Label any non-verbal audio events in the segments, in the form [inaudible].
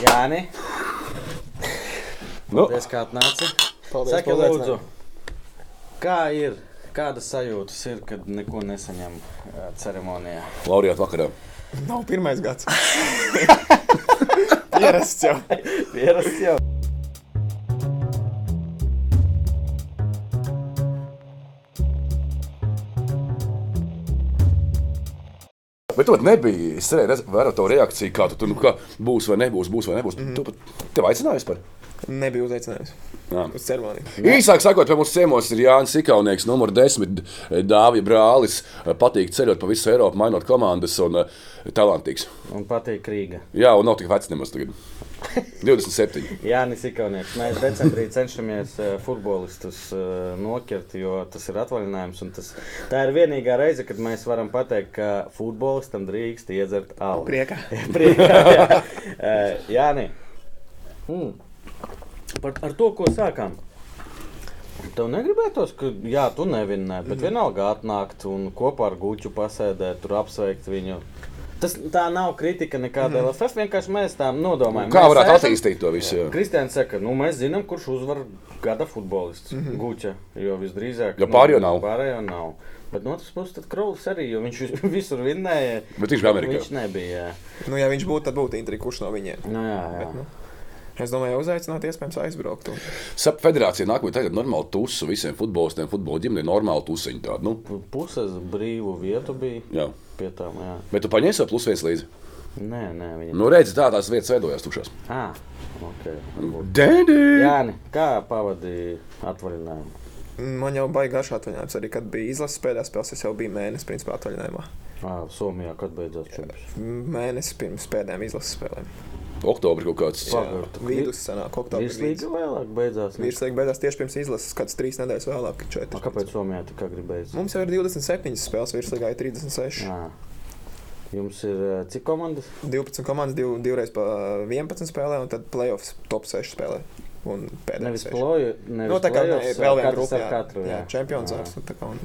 Jāni, Nu, paldies, ka atnāci. Paldies, Saki, paldies, lūdzu, kā ir? Kādas sajūtas ir, kad neko nesaņem eh, ceremonijā? Laurijāta vakarā. Nav pirmais gads. Ierasts jau. Pierasts jau. Bet tu pat nebija. Es cerēju, ka vēroju tavu reakciju, kā tu tur nu, kā būs vai nebūs, būs vai nebūs. Mhm. Mm -hmm. Tu pat tevi aicinājies par. Nebija uzaicinājums Jā. uz ceremoniju. Īsāk sakot, pie mums ciemos ir Jānis Ikaunieks, numur 10, Dāvija brālis. Eh, Patīk ceļot pa visu Eiropu, mainot komandas un uh, talantīgs. Un patīk Rīga. Jā, un nav tik vecs nemaz [laughs] tagad. 27. Jānis Ikaunieks. Mēs decembrī cenšamies eh, futbolistus eh, nokļūt, jo tas ir atvaļinājums. un Tas, tā ir vienīgā reize, kad mēs varam pateikt, ka futbolistam drīkst iedzert alu. Priekā. Priekā. jā. [laughs] Eh, Jāni, mm. par, ar to, ko sākām. Tev negribētos, ka, jā, tu nevinēji, Mhm. bet vienalga atnākt un kopā ar guļu pasēdēt, tur apsveikt viņu. Tas tā nav kritika nekāda mm. LFF, vienkārši mēs tām nodomājam. Mhm. Kā Mēs varētu sēžam- attīstīt to visu? Jā. Kristians saka, nu, mēs zinām, kurš uzvar gada futbolists. Mm -hmm. Guča, jo visdrīzāk. Mhm. Jo pārējo nav. Nu, pārējo nav. Bet no otras puses, tad Kraulis arī, jo viņš [laughs] vis- visur vinnēja. Bet viņš bija Amerikā. Viņš nebija. jā. Nu, ja viņš būtu, tad būtu intriga, kurš no viņiem. Nu, jā, jā. Bet, nu. Es domāju, uzaicināt, iespējams, aizbraukt. Un... Sap federācija nākamajā tagad normāli tusu visiem futbolistiem, futbola ģimenei, normāli tusiņu tādu. Nu, Puses brīvu vietu bija jā. pie tām. Jā. Bet tu paņēmi savu plus viens līdzi. Nē, nē, viņa. Nu. Nu, redzi, tā tās vietas veidojās tukšās. Ah, okay. Dēdi! Jā, nē, kā pavadīja atvaļinājumu? Man jau baigi garš atvaļinājums. Arī kad bija izlases pēdējā spēlē, es jau biju mēnesis principā atvaļinājumā. Ah, Somijā, kad beidzās čempions. Mēnesis pirms pēdējām izlases spēlēm. Oktobra kaut kāds. Jā. Vidus sanāk, oktobris. Virslīga vēlāk beidzās. ne? Virslīga beigās tieši pirms izlases, kāds trīs nedēļas vēlāk, Ah, četri. Kāpēc Somijā tā kā gribējās? Mums jau ir 27 spēles, virslīgā ir 36. Jā. Jums ir eh, cik komandas? 12 komandas, div, divreiz pa 11 spēlē, un tad playoffs top 6 spēlē. Un pēdējais. Nevis seši. ploju, nevis Nu, tā kā play-offs, vēl viena katrs grupa. ar katru. jā, Jā, čempions Jā. ar tā kā. Un...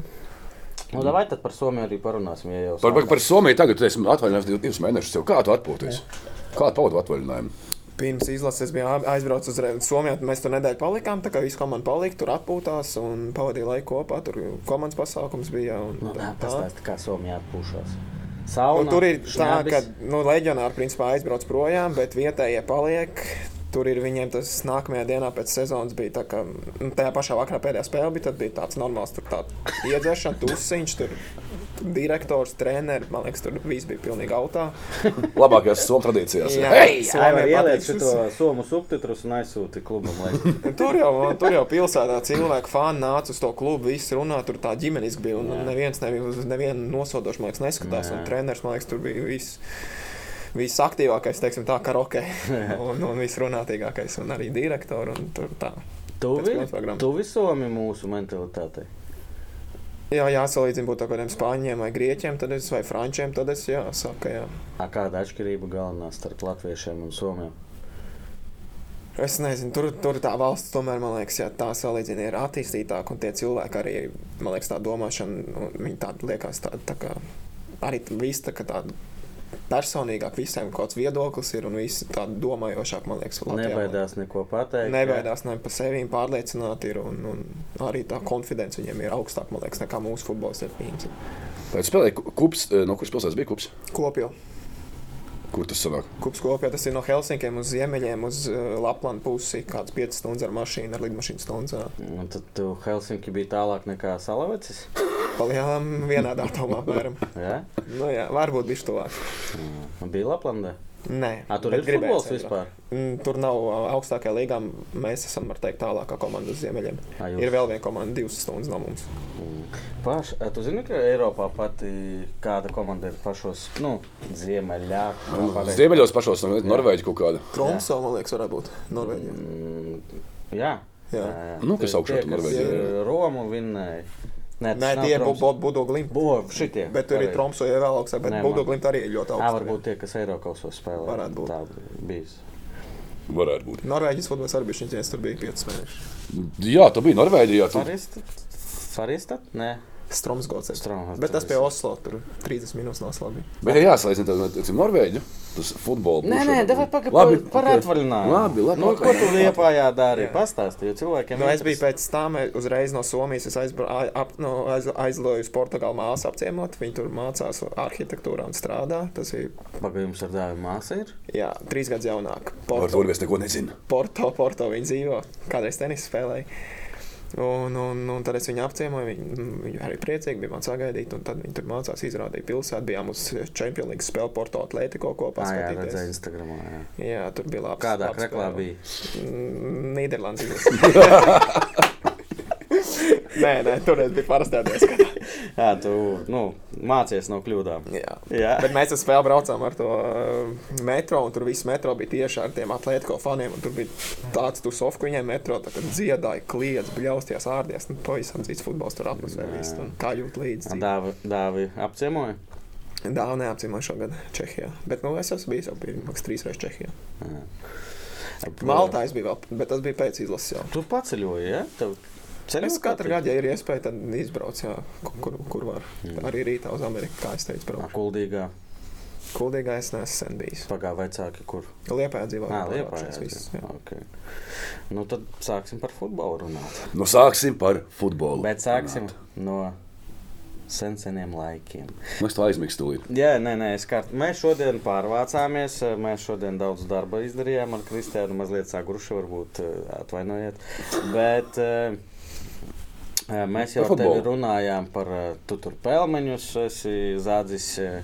Nu, davai tad par Somiju arī parunāsim, ja jau Par, par, sākām. par Somiju tagad tu esi atvaļinājums div- divus mēnešus. Tev Kā tu atpūties? Kādu paudu atvaļinājumu? Pirms izlases es biju ā- aizbraucis uz Re- Somiju, un mēs tur nedēļu palikām. Tā kā visu komandu palika, tur atpūtās un pavadīja laiku kopā. Tur komandas pasākums bija. Un, Nu, tā, tā- pastāsti, kā Somija atpūšās. Sauna, Un tur ir tā, šņabis. ka nu, leģionāri principā aizbrauc projām, bet vietējie paliek. Tur ir viņiem tas nākamajā dienā pēc sezonas bija tā, ka nu, tajā pašā vakarā pēdējā spēlē bija, tad bija tāds normāls tur tā iedzēršana, tusiņš, tur direktors, treneris, man liekas, tur viss bija pilnīgi autā. Labākajās Somijas tradīcijās. Jā. Ai, Hei! var Somijai ieliec patīk šito somu subtitrus un aizsūti klubam, [laughs] lai Tur jau, tur jau pilsētā cilvēki fani nāca uz to klubu, visi runā, tur tā ģimenes bija. Un neviens nebija uz nevienu nosodošu, man liekas, neskatās. Nē. Un treneris, man liekas, tur bija viss. Visaktīvākais, teiksim, tā kā roke. Un, un visrunātīgākais, un arī direktors. tuvi, Pēc programmas. tuvi Somi mūsu mentalitātei. Jā, jāsalīdzina būtu ar kādiem spāņiem vai grieķiem, tad es vai frančiem, tad es jāsaka, jā. A, kāda atšķirība galvenā starp latviešiem un somiem? Es nezinu, tur, tur tā valsts, tomēr, man liekas, jā, tā salīdzina ir attīstītāka, un tie cilvēki arī, man liekas, tā domāšana, nu, viņi tāda liekas, tā, tā kā arī vista, ka tāda personīgāk visiem kaut kāds viedoklis ir, un visi tādi domājošāk, man liekas, Latvijā, man liekas. Nebaidās neko pateikt. Nebaidās ne par sevi, pārliecināti ir, un, un arī tā konfidence viņiem ir augstāka, man liekas, nekā mūsu futbolistiem. Viņiem ir Tad spēlēja ku- kups, eh, no kuras pilsētas bija kups? kopīgi. Kur tas sanāk? Kups kopā, tas ir no Helsinkiem uz ziemeļiem, uz uh, Laplandu pusi, kāds 5 stundas ar mašīnu, ar lidmašīnu stundas. ā. Un tad tu Helsinki bija tālāk nekā Salavecis. Palielinām vienādā datumā, apmēram. Jā, Nu, jā, varbūt viņš tuvāk. Un bija Laplandē. Nē, A, tur bet ir futbols aizbraukt. vispār. Mm, Tur nav ā, augstākajā līgā. Mēs esam, var teikt, tālākā komanda uz ziemeļiem. Ā, jūs- Ir vēl viena komanda, divas stundas no mums. Paš, a, tu zini, ka Eiropā pati kāda komanda ir pašos, nu, ziemeļā. kā pareizi? Ziemeļos pašos, no Norvēģi kaut kāda. Tromso, man liekas, varētu būt Norvēģija. Mm, Jā. Jā. Nu, kas augšā tur var Norvēģijā? būt? Romu vinnēja. Nē, Nē, tie ir Budoglimti. Bovi šitie. Bet tur ir pareizi. Tromso jau vēl augstāk, Nē, bet man- Budoglimti arī ir ļoti Ā, augsts. varbūt tie, kas Eiropasos spēlē. Varētu būt. Tā bijis. Varētu būt. Norvēģis futbols arī bija šis dienas, tur bija 5 mēneši. Jā, tu biji Norvēģijā. Tu... Faristat? Faristat? Nē. Stromsgods. ir. Stromsgods, Bet tas jā, pie es- Oslo tur 30 minūtes noslēdz. Bet ir jāsalīdzina tas ar Norvēģiju. Tas futbols. Nē, nē, davai pagaid Labi, par- par ok. atvaļinājumu. Labi, labi. Nu, ok. ko tu liepājā dari? Jā. Pastāsti, jo cilvēkiem Nu, es biju interesē. pēc tam, eh, uzreiz no Somijas es aizbra- ai- ap- nu, aiz- aizloju uz Portugālu māsu apciemot. Viņa tur mācās arhitektūrā un strādā. Tas ir Pagaid, jums ar dēlu māsa ir? jā, trīs gadus jaunāk. Par Porto, to es neko nezinu. Porto, Porto viņa dzīvo. Kādreiz tenis spēlēja. Un, un, un tad es viņu apciemoju. Viņa, viņa arī priecīgi bija man sagaidīt. un Tad viņa tur mācās, izrādīja pilsētu. Bijām uz Champions League spēli Porto Atlētiko kopā. Ah, jā, skatīties. redzēju Instagramā. Jā. jā, tur bija labi. Kādā kreklā bija? Nīderlandes. [laughs] nē, nē, tur es biju parastā diezgan. Jā, tu nu, mācies no kļūdām. Jā. Jā. Bet mēs uz spēli braucām ar to uh, metro, un tur viss metro bija tieši ar tiem atlētisko faniem. un Tur bija tāds tusovs, ka viņiem metro tā kā dziedāja, kliedz, bļausties ārdies. Nu, pavisam cits futbols tur atmosfēra. viss, un Tā jūt līdzi. dzīvi. Dāvi, dāvi apciemoja. Dāvā neapcīmēju šogad Čehijā. Bet nu, es esmu bijis jau pirms trīs reizes Čehijā. Maltā es biju vēl, bet tas bija pēc izlases jau. Tu paceļoji, ja? Tev ceļot Es katru patīk? gadu, ja ir iespēja, tad izbraucu, jā, kur- kur, kur var. Arī rītā uz Ameriku, kā es Mm. teicu, Ā, braucu. Kuldīgā Kuldīgā es neesmu sen bijis. pagāja vecāki, kur. Liepājā dzīvoju. Ā, pārvākšos Liepājā visus, dzīvo. jā. Okay. Nu, tad sāksim par futbolu runāt. Nu, sāksim par futbolu. Bet sāksim no sen seniem laikiem. Nu, es to aizmirsu tūlīt. Jā, nē, nē, es kārt. Mēs šodien pārvācāmies. eh, Mēs šodien daudz darba izdarījām ar Kristiānu. Mazliet sagruši, varbūt eh, atvainojiet. Bet eh, eh, mēs jau Par ar tevi futbolu. runājām par eh, tu tur pelmeņus, esi zādzis. eh,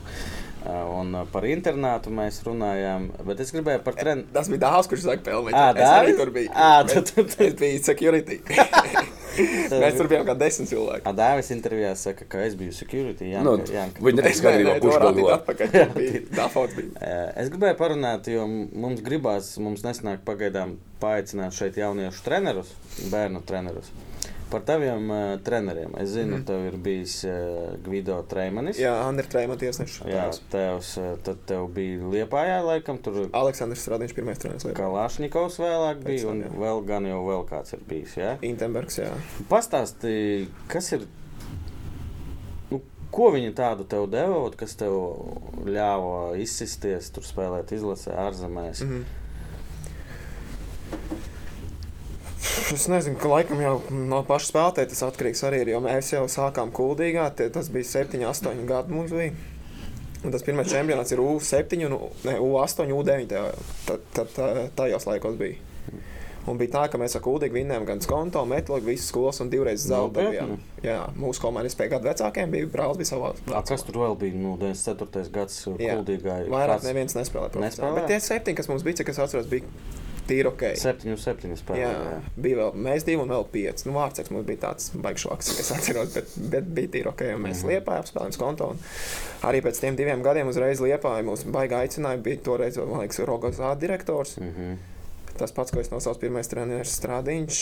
Un eh, par internātu mēs runājām, bet es gribēju par treniņu. Tas bija dāvāts, kurš saka, pelnīt. Ā, es arī Dāvis? tur biju. Ā, Bet tu- tu- tu- Es biju security. Mēs tur bijām kā desmit cilvēki. Dāvis intervijā saka, ka es biju security. Jā, Nu, jā, Viņi netiek skaidrībā, kurš to bija. gulēja. Atpakaļ, tur bija dāvāts. Es gribēju parunāt, jo mums gribās, mums nesanāk pagaidām paaicināt šeit jauniešu trenerus, bērnu trenerus. Par taviem uh, treneriem. Es zinu, mm. tev ir bijis uh, Gvido Treimanis. Mhm. Jā, Andri Trēma tiesneša. jā tevs, uh, tad tev bija Liepājā, laikam, tur Aleksandrs Stradiņš pirmais treneris lietā. Kalāšņikovs vēlāk bija, tam, un jā. vēl gan jau vēl kāds ir bijis, jā? Intenbergs, jā. Pastāsti, kas ir. Nu, ko viņi tādu tev deva, ot, kas tev ļāva izsisties, tur spēlēt, izlasē, ārzemēs? Mm. Es nezinu, ka laikam jau no paša spēlētāja tas atkarīgs arī ir. Jo mēs jau sākām kuldīgā, tie, tas bija 7, 8 gadi mums bija. Un tas pirmais čempionāts ir U7, un, U- ne, U8, U9. tajā- tad- tad, tā- Tajos laikos bija. Un bija tā, ka mēs ar Kūdiņu vinnējām gan skonto, metlogu, visas skolas un Nu, divreiz zaudējām. Nopietni? Jā, mūsu komandai bija gadu vecākiem, bija brālis, bija savā. Kas tur vēl bija? Nu, uh, 94. gadsimta Jā. gudrīgā Vairāk neviens nespēlēja. profesionāli. Nespēlē? Bet tie septiņi, kas mums bija, cik es atceros, bija tīri ok. 7, 7 Jā, spēlēja. bija vēl mēs divi un vēl pieci. Nu, Vārtsaktas mums bija tāds baigšāks, kas atceros, bet, bet bija tīri ok, un mēs liepā apspēlējām skonto. Un arī pēc tiem diviem gadiem uzreiz liepā mūs baigā aicināja, bija toreiz, vēl, man liekas, Rogozā direktors. Mm -hmm. Tas pats, ko es nosaucu pirmais treneris Stradiņš.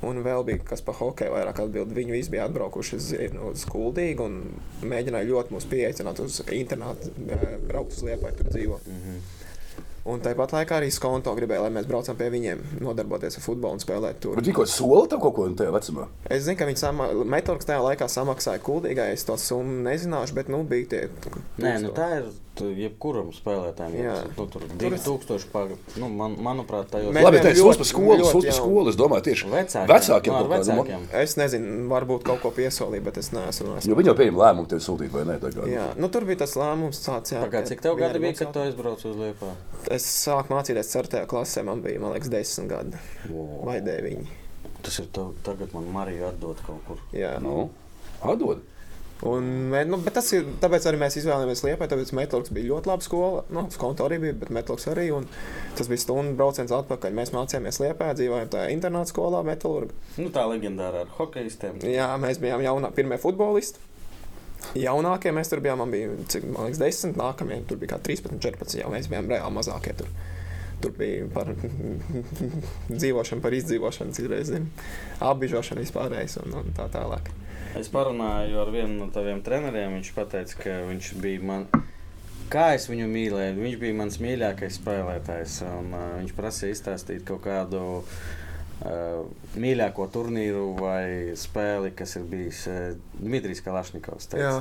Un vēl bija kas par hokeju, vairāk atbildēja. Viņi visi bija atbraukuši uz, nu, uz Kuldīgu un mēģināja ļoti mūs pieaicināt uz internātu, eh, braukt uz Liepāju, tur dzīvot. Mm mhm. -hmm. Un tāpat laikā arī Skonto gribēja, lai mēs braucam pie viņiem, nodarboties ar futbolu un spēlēt tur. Bet tikko soli tev kaut ko no tajā vecumā. Es zinu, ka viņi sama, metāliks tajā laikā samaksāja kuldīgai, es to summu nezināšu, bet nu bija tie. Nē, nu tā ir tu- jebkuram spēlētājam. Jā. Jā. Nu, tur 2000 pagaidu. Nu, man, manuprāt, tajos Mē- Labi, Viņiem es teicu, ļoti- uz skolu, ļoti uz jau- skolu. Es domāju, tieši vecākiem. vecākiem nu, ar kaut kādu, nu, vecākiem. Es nezinu, varbūt kaut ko piesolīju, bet es neesmu. Jo neesmu. viņi jau pieņem lēmumu tevi sūtīt vai nē. tā kā. Jā, nu tur bija tas lēmums, tāds jā. Pagāj, ka cik tev viņi gadi arī bija, kad maksā. tu aizbrauci uz Liepā? Es sāku mācīties 4. klasē, man bija, man liekas, 10 gadi Wow. vai 9. Tas ir tev tagad, man Marija atdod kaut kur. Jā. Nu, atdod. Un, mē- nu, bet tas ir tāpēc, arī mēs izvēlējāmies Lietuvā. Tāpēc Metlūks bija ļoti laba skola. Nu, skonto arī bija, bet Metlūks arī. Un tas bija stundu brauciens atpakaļ. Mēs mācījāmies Lietuvā, dzīvojām tajā internāta skolā, Metlūrgā. Nu, tā leģendāra ar hokeistiem. Jā, mēs bijām jaunā, pirmie futbolisti. Jaunākie mēs tur bijām, man bija cik, man liekas, 10, nākamie tur bija kā 13, 14. Jau mēs bijām reāli mazākie. Tur, tur bija par [laughs] dzīvošanu, par izdzīvošanu, citreiz zinu, apbiežošanu vispārējais un, un tā tālāk. Es parunāju ar vienu no taviem treneriem. Viņš teica, ka viņš bija man. Kā es viņu mīlēju, viņš bija mans mīļākais spēlētājs. Un, uh, viņš prasīja izstāstīt kaut kādu uh, mīļāko turnīru vai spēli, kas ir bijis uh, Dmitrijs Kalašņikovs. Jā,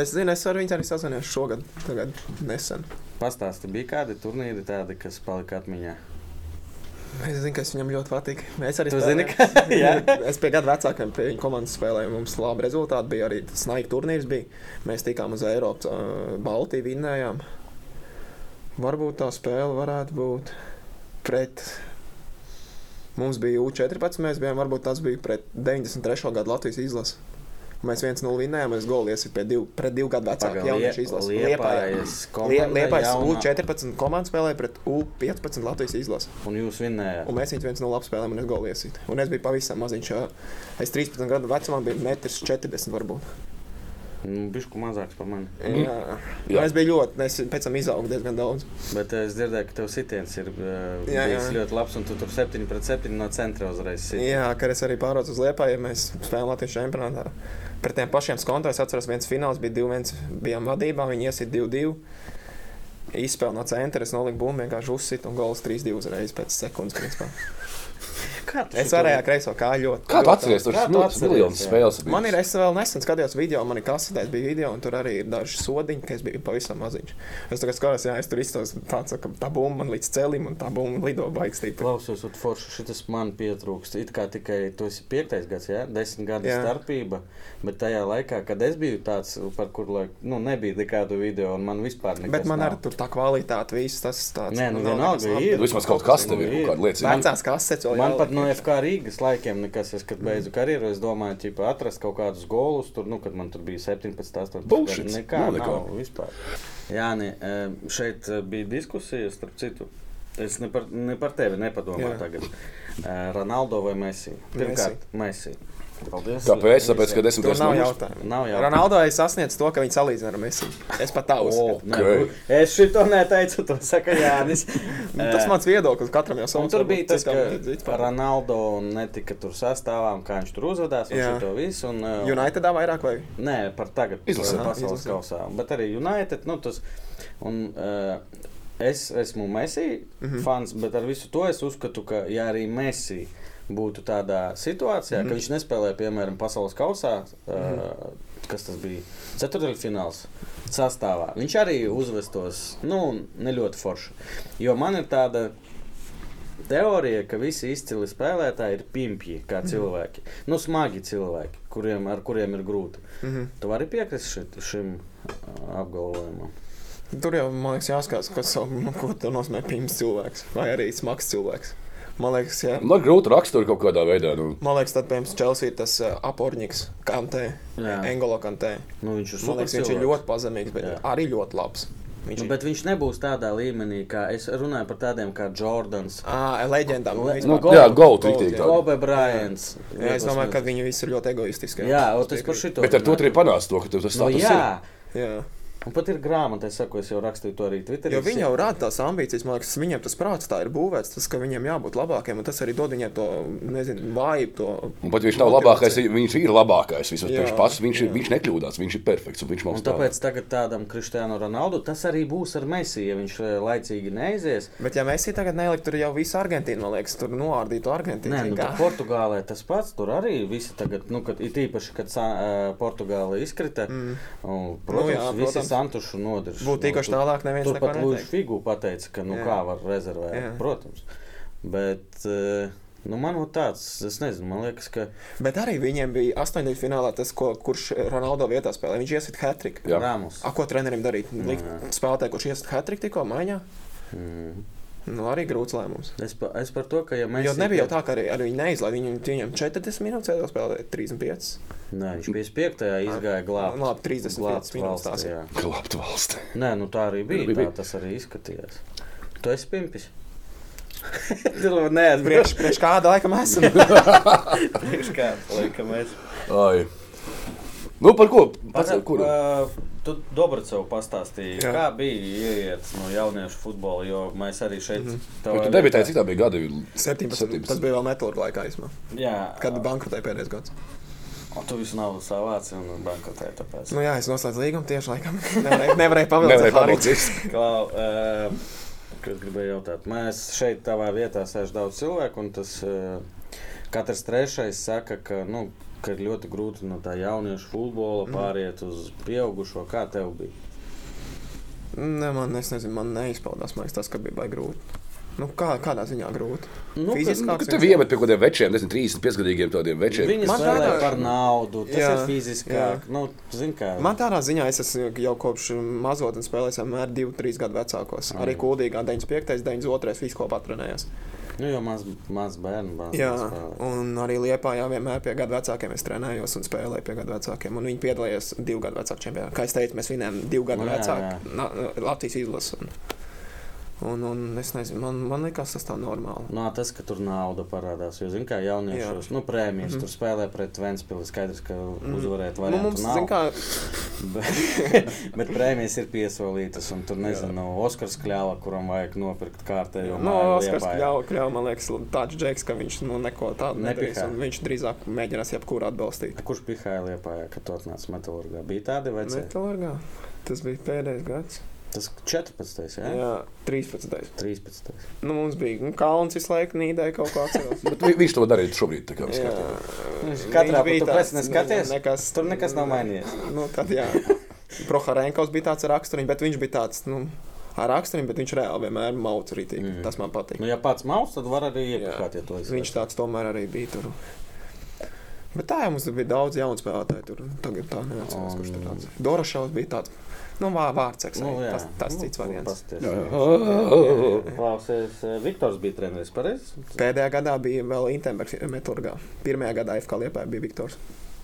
es zinu, es ar viņu arī sazinājos šogad, tagad nesen. Pastāsti, bija kādi turnīri tādi, kas palika atmiņā? Es zinu, ka es viņam ļoti patīk. Mēs arī Tu zini, [laughs] spēlējām. ka- [laughs] es pie gada vecākiem pie viņa komandas spēlēju. Mums labi rezultāti bija arī snaigi turnīrs. Bija. Mēs tikām uz Eiropas, ā, Baltiju vinnējām. Varbūt tā spēle varētu būt pret. Mums bija U14, mēs bijām, varbūt tas bija pret 93. gadu Latvijas izlasi. Mēs viens no vinnējām, es golies pie divu, pret divu gadu vecāku jauniešu izlasi. Liepājas komanda Liepais jaunā- U14 komanda spēlēja pret U15 Latvijas izlasi. Un jūs vinējāt. Un mēs viņu viens no labiem spēlēm, un es gāju iesīt. Un es biju pavisam maziņš. ā, Es 13 gadu vecumā biju 1,40 m. Varbūt. Nu, Bišku mazāks par mani. Jā. Mhm. Jā. Jā. Es biju ļoti, es pēc tam izaugu diezgan daudz. Bet eh, es dzirdēju, ka tev sitiens ir jā, Jā, bijis jā. jā. ļoti labs, un tu tur 7 pret 7 no centra uzreiz siti. Jā, ka es arī pārcēlos uz Lietuvā, ja mēs spēlējām Latvijas čempionātā. Pret tiem pašiem skonto es atceros, viens fināls bija 2-1, bijām vadībā, viņi iesita 2-2. Izspēlēju no centra, es noliku bumbu, vienkārši uzsitu un gols 3-2 uzreiz pēc sekundes. principā. Kā tu Es šo varēju kreisā kāju ļoti. Kā tu ļoti atceries, tur kā tu bija atceries, milzīgs jā? spēles. Man ir, es vēl nesen skatījos video, man ir kasetēs bija video, un tur arī ir daži sodiņi, ka es biju pavisam maziņš. Es tagad skatos, jā, es tur izstos tāds, ka tā bumba man līdz celim, un tā bumba lido baigstīt. Klausos, un forši šis man pietrūkst. It kā tikai tu esi piektais gads, ja? desmit gadi Jā. starpība. Bet tajā laikā, kad es biju tāds, par kur laik, nu, nebija nekādu video, un man vispār nekas. Bet man nav. arī tur tā kvalitāte, viss tas tāds. Nē, nu, nav vienalga, nekas ir. apdraudēts. Vismaz kaut kas tev ir, Nu, ir. kaut kāda liecība. Vecās kasetes vēl Man jāliek. pat no FK Rīgas laikiem nekas, es, kad beidzu karjeru, es domāju, ka atrast kaut kādus golus, tur, nu, kad man tur bija 17, 18, Bullshit. gadi. Nekā, Nav nekā. nav vispār. Jā, nē, šeit eh, bija diskusija, starp citu. Es ne par, ne par tevi nepadomāju Jā. tagad. Eh, Ronaldo vai Messi? Pirmkārt, Messi. Paldies. Kāpēc? Tāpēc, ka desmit Tur gadus nav nomirst. jautājumu. Nav jautājumu. Ronaldo ir sasniedzis to, ka viņi salīdzina ar Messi. Es pat tā O, uzskatu. nē, nu, Ok. Es šito neteicu, to saka Jānis. E, Nu, Tas mans viedoklis, katram jau Un savs. tur varbūt bija tas, citam ka citam. Ronaldo netika tur sastāvā, un kā viņš tur uzvedās. Un Jā. šito visu, un, eh, Unitedā vairāk vai? Nē, par tagad Izlasē. par pasaules Izlasē. kausā. Bet arī United. Nu, tas, un, uh, es esmu Messi mm -hmm. fans, bet ar visu to es uzskatu, ka ja arī Messi būtu tādā situācijā, mm -hmm. ka viņš nespēlēja, piemēram, pasaules kausā. Uh, mm -hmm. Kas tas bija? Ceturdaļfināls sastāvā. Viņš arī uzvestos, nu, ne ļoti forši. Jo man ir tāda teorija, ka visi izcili spēlētāji ir pimpji, kā cilvēki. Nu, smagi cilvēki, kuriem, ar kuriem ir grūti. Mm -hmm. Tu vari piekrist šit, šim ā, apgalvojumam. Tur jau, man liekas, jāskatās, kas sav- nu, ko tev nozīmē pirms cilvēks vai arī smags cilvēks. Man liekas, jā. Man grūti raksturot kaut kādā veidā. Nu. Man liekas, tad, piemēram, Chelsea ir tas uh, aporņiks, kantē, Jā. Angolo kantē. Nu, viņš ir Man liekas, viņš ir supercilvēks. ļoti pazemīgs, bet Jā. jā. arī ļoti labs. Viņš Nu, ir bet viņš nebūs tādā līmenī, kā es runāju par tādiem kā Jordans, ah, leģendā. Le- vispār. nu, Gold, jā, Gold Gold, riktīgi jā. tā. Kobe Bryants. Jā, es domāju, ka viņi visi ir ļoti egoistiski. Jā, o, Es tas par piekrītu. šito. Bet ar to runāju. arī panāca to, ka tev tas Nu, stāsts ir. jā, Jā. un pat ir grāmata, es saku, es jau rakstīju to arī Twitterī. Jo viņi jau rāda tās ambīcijas, man liekas, viņiem tas prāts tā ir būvēts, tas, ka viņiem jābūt labākiem, un tas arī dod viņiem to, nezinu, vājību, to Un pat viņš nav labākais, viņš ir labākais. Vismaz Jā, viņš pats, viņš, ir- jā. viņš nekļūdās, viņš ir perfekts. un Viņš Un mums tāpēc tagad tādam Kristiānu Ronaldu tas arī būs ar Mēsiju, ja viņš eh, laicīgi neizies. Bet, ja mēs tagad neliktu, tur jau visu Argentīnu, man liekas, tur noārdītu Argentīnu. Nē, nu, zini kā. tur Portugālē tas pats. Tur arī viss tagad, nu, kad, it īpaši, kad sa, uh, Portugāla izkrita. Mm. Un, protams, nu, jā, jā, protams, visi protams. santuši nodarbojas. Būtu tikuši tālāk, neviens Tur neko pat neteikt. Lūdzu Figu pateica, ka nu, Jā. kā var rezervēt. Jā. Jā. Protams. Bet eh, nu, man no tāds, es nezinu, man liekas, ka Bet arī viņiem bija astoņdesmit finālā tas, ko, kurš Ronaldo vietā spēlēja. Viņš iesita hatriku. Jā. Rāmus. A, ko trenerim darīt? Likt spēlētāju, kurš iesita hatriku tikko maiņā? Nu, arī grūts lēmums. Mm. Es, pa, es par to, ka ja mēs. Jo nebija jau tā, ka arī, arī viņi neizlaiž. Viņi viņam 40 minūtes jau spēlēja 35. Nē, viņš 55. izgāja glābt. Labi, 35 glābt minūtes valsts, tās ir. jā. Klāpt valsts. Nē, nu tā arī bija. Bija, Tā bija. tas arī izskatījās. Tu esi [laughs] pimpis. Tur jau neatbrīvojas. Priekš, priekš kāda laikam [laughs] esam. Ai. Nu, par ko? Pats, Pagaid, kur? ā, Tu Dobricēvu pastāstīji, Jā. Jā. kā bija ieiet no jauniešu futbola, jo mēs arī šeit mm -hmm. Kur tu debitēji, cik tā bija gadi? 17. Tas bija vēl metāla laikā, īsumā, Jā, kad bankrotēja pēdējais gads. un tu visu naudu savāci un bankrotēji tāpēc. Nu, jā, es noslēdzu līgumu tieši laikam. Nevarēju, [laughs] nevarēju pavilkt. Nevarēja pabeigt. Klau, uh, kas gribēja jautāt? Mēs šeit tavā vietā sēž daudz cilvēku, un tas uh, Katrs trešais saka, ka, nu, ka ir ļoti grūti no tā jauniešu futbola pāriet uz pieaugušo. Kā tev bija? Ne, man, es nezinu, man neizpaudās. Man liekas, tas bija baigi grūti. Nu, kā, kādā ziņā grūti? Nu, ka- Fiziskāks nu, ka Kad tev iemet pie kaut kādiem večiem, nezinu, 35 gadīgiem tādiem večiem. Viņi Man spēlē tādā- par naudu, tas jā, Jā, ir fiziskāk. Jā. Nu, zin, kā, Man tādā ziņā es esmu jau kopš mazotnes spēlējis vienmēr 2, 3 gadu vecākos. Arī kuldīgā 95, 92, visu kopā trenējos. nu, jau maz, maz bērnu bērnu Jā, spēlē. un arī Liepā jā, vienmēr pie gadu vecākiem es trenējos un spēlēju pie gadu vecākiem. Un viņi piedalījās divu gadu vecāku čempionātā. Kā es teicu, mēs vinējām divu gadu Nu, jā, vecāku na- Latvijas izlasu. Un, un, un es nezinu, man, man liekas, tas tā normāli. Nā, Nu, tas, ka tur nauda parādās, jo, zināmā mērā, jauniešos nu, prēmijas mm. tur spēlē pret Vēnspili. Skaidrs, ka uzvarēt Mhm. Nu, vajag. mums, zin [laughs] kā, Bet, [laughs] bet prēmijas ir piesolītas, un tur nezinu, Osakas kļāva, kuram vajag nopirkt kārtējo No, māju Nu, Oskars Liepājā. Kļāvs, man liekas, tāds džeks, ka viņš nu, neko tādu nedarīs. Nepihā. un Viņš drīzāk mēģinās jebkuru atbalstīt. Kurš pihāja Liepājā, kad tu atnāci metālurgā? Bija tādi Nu, veci? Metālurgā. Tas bija pēdējais gads. Tas 14. Jā, Jā? Jā. jā 13. 13. Nu, mums bija nu, kalns visu laiku nīdēja kaut ko [laughs] atceros. Bet vi- viņš to darīja šobrīd. tā kā es Jā, skatos. Katrā viņš bija pusē tāds, pēc neskaties. ne- nekas- Tur nekas nav mainījies. Nu, tad, jā. Proharenkovs bija tāds ar raksturiņu, bet viņš bija tāds nu, ar raksturiņu, bet viņš reāli vienmēr mauca rītīgi. Mm. Mm. Tas man patīk. Nu, ja pats maus, tad var arī iepakāt, ja to es. Viņš tāds tomēr arī bija tur. Bet tā jau mums bija daudz jaunu spēlētāju. Tur tagad tā neatceros, kurš tur tāds. Dorašaus bija tāds. Nu, vā, vārdsargs. Nu, arī. jā. tas, tas cits variants. Pasties. Jā, jā. Klausies, eh, Viktors bija treneris, pareizi? Pēdējā gadā bija vēl Intenbergs meturgā. Pirmajā gadā FK liepā bija Viktors.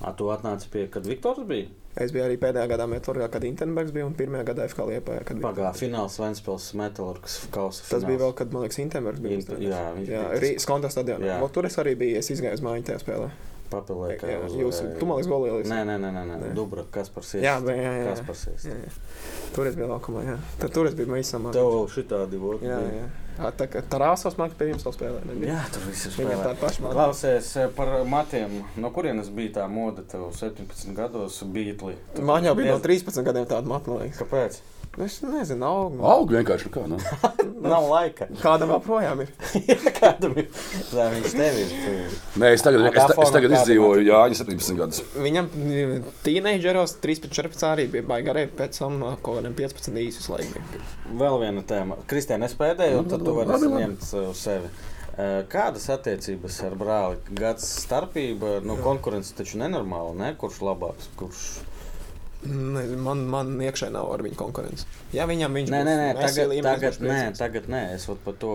A, tu atnāci pie, kad Viktors bija? Es biju arī pēdējā gadā meturgā, kad Intenbergs bija un pirmajā gadā FK liepā. Kad bija. Pagā, fināls Ventspils metālurgas kausa. Tas fināls. bija vēl, kad, man liekas, Intenbergs bija. Inte- uzstādījis. jā, viņš jā bija tas- Rīgas kontekstā stadionā. Jā. Vot Tur es arī biju, es izgāju uz mājiņu tajā spēlē. Papelē, kā Jā, uzvarēja. jūs- tu, man liekas, golī ieliksi. eh, Nē, nē, nē, nē, nē. Nē. Dubra, kas par siestu? Jā, jā, jā. jā. Kas par siestu? Jā, jā. Tur es biju laukumā, jā. Tad tur es biju visam. Tev vēl šitādi voti. Jā, jā. Ā, Tā kā Tarāsovs mākslinieks pie jums vēl spēlē. nebija? Jā, tur viss ir Viņam spēlē. tāda paša māksla. Klausies eh, par matiem. No kurienes bija tā moda tev 17 gados beatli? Man jau bija no 13 gadiem tāda mākslinieka. Kāpēc? Es nezinu, augumā. Augu vienkārši. nu Kā, nu? Nav laika. [laughs] Kādam joprojām ir? Kādam ir? Tā viņš tev ir. tu- Nē, es tagad, es, ta- es tagad Kādam- izdzīvoju Jāņa 17 gadus. Viņam tīneģeros 13, 14 arī bija baigā arī pēc tam ā, kaut kādiem 15 īsus laikiem. Vēl viena tēma. Kristēna, es pēdēju, un tad tu vari Labi, labi. ņemt eh, uz sevi. Eh, Kādas attiecības ar brāli? Gads starpība, nu, konkurence taču nenormāla, ne? Kurš labāks, kurš Nezinu, Man, man iekšā nav ar viņu konkurence. Jā, viņam viņš Nē, nē, nē būs tagad, Messi līmenis, tagad, viņš nē, priecīgs. tagad nē, es pat par to.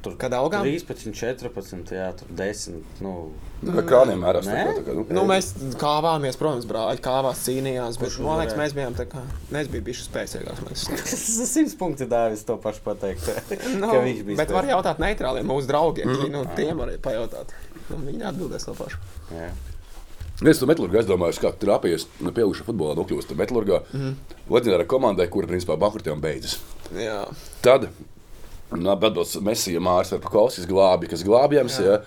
Tur Kad augām? 13, 14, jā, tur 10. Nu, [laughs] Kā Krāniem mērās. tā kā- Nē? tā kā, nu. Nu, mēs kāvāmies, protams, brāļi, kāvās cīnījās, bet, Kurš man liekas, uzvarēja? mēs bijām tā kā, mēs bijām bijuši spēcīgāks. man liekas. tas ir 100 punkti dāvis to pašu pateikt. Nu, ka viņš bija. bet var spēcīgs. Mhm. jautāt neitrāliem mūsu draugiem, mm. nu, tiem arī pajautāt. Nu, viņi atbildēs to pašu. [laughs] Jā. Viens no metālurgiem, es domāju, ka terapijas pieaugušā futbolā nokļūst metālurgā. Mhm. Mm. Leģendāra komandai, kura principā bankrotiem beidzas. Jā, Tad nu, atbildēs Mēsija Mārcis Kalniņš, glābi, kas glābjams. Jā.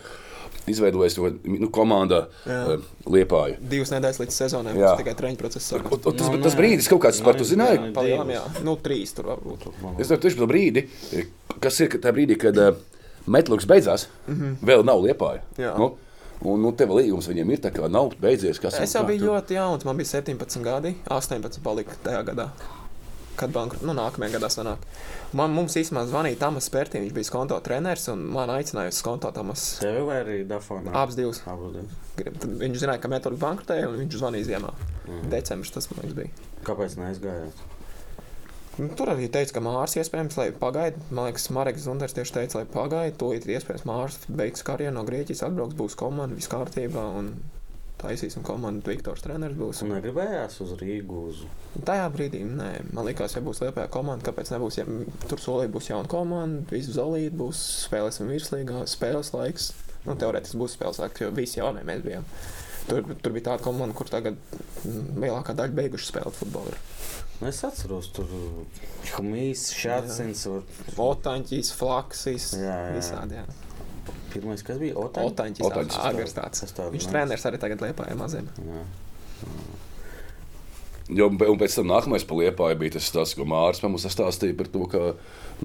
Izveidojas to nu, komandā Jā. Liepāja. divas nedēļas līdz sezonai Jā. mums tikai treniņu procesa Un, sākās. un tas, Nu, no, tas nē. brīdis, kaut kāds par to Nē, zināja. nē, nē. Palielam, jā, divas. nu, trīs tur varbūt. Es domāju, tieši par to brīdi, kas ir tajā brīdī, kad uh, metālurgs beidzās, mm -hmm. vēl nav Liepāja. Mhm. Jā. Nu, un nu, tev līgums viņiem ir tā kā nav beidzies. Kas Es un jau kā biju tu- ļoti jauns, man bija 17 gadi, 18 palika tajā gadā. Kad bankrota, nu, nākamajā gadā sanāk. Man, mums īstenībā zvanīja Tamas Pērtiņš, viņš bija skonto treneris, un man aicināja uz skonto Tamas. Tev vai arī Dafonā? Abas divas. Abas divas. Grib- tad Viņš zināja, ka metāla bankrotēja, un viņš zvanīja ziemā. Mhm. Decembris tas man liekas, bija. Kāpēc neaizgājāt? Nu, tur arī teica, ka Mārcis iespējams, lai pagaidi. Man liekas, Marks Zunders tieši teica, lai pagaidi. To ir iespējams, Mārcis beigs karjeru no Grieķijas, atbrauks, būs komanda, viss kārtībā. Un... Taisīsim komandu, Viktors treneris būs. Tu negribējās uz Rīgu. Uz... Tajā brīdī, nē, man liekas, ja būs liepā komanda, kāpēc nebūs, ja tur solī būs jauna komanda, visu zalīti būs, spēlēsim virslīgā, spēles laiks. Nu, teorētiski būs spēles laiks, jo visi jaunie mēs bijām. Tur, tur bija tāda komanda, kur tagad mm, lielākā daļa beiguši spēlēt futbolu. Nu, Es atceros, tur bija Humijs, Šācins. Otaņķis, Flaksīs, Jā, jā. visādi. jā. Pirmais, kas bija? Otaņ? Otaņķis, Otaņķis, Otaņķis agrs tāds. tas tāds, Viņš jā. treneris arī tagad liepā ar maziem. Jā. Jo, un pēc tam nākamais paliepāja bija tas, tas ko Mārcis mums stāstīja par to, ka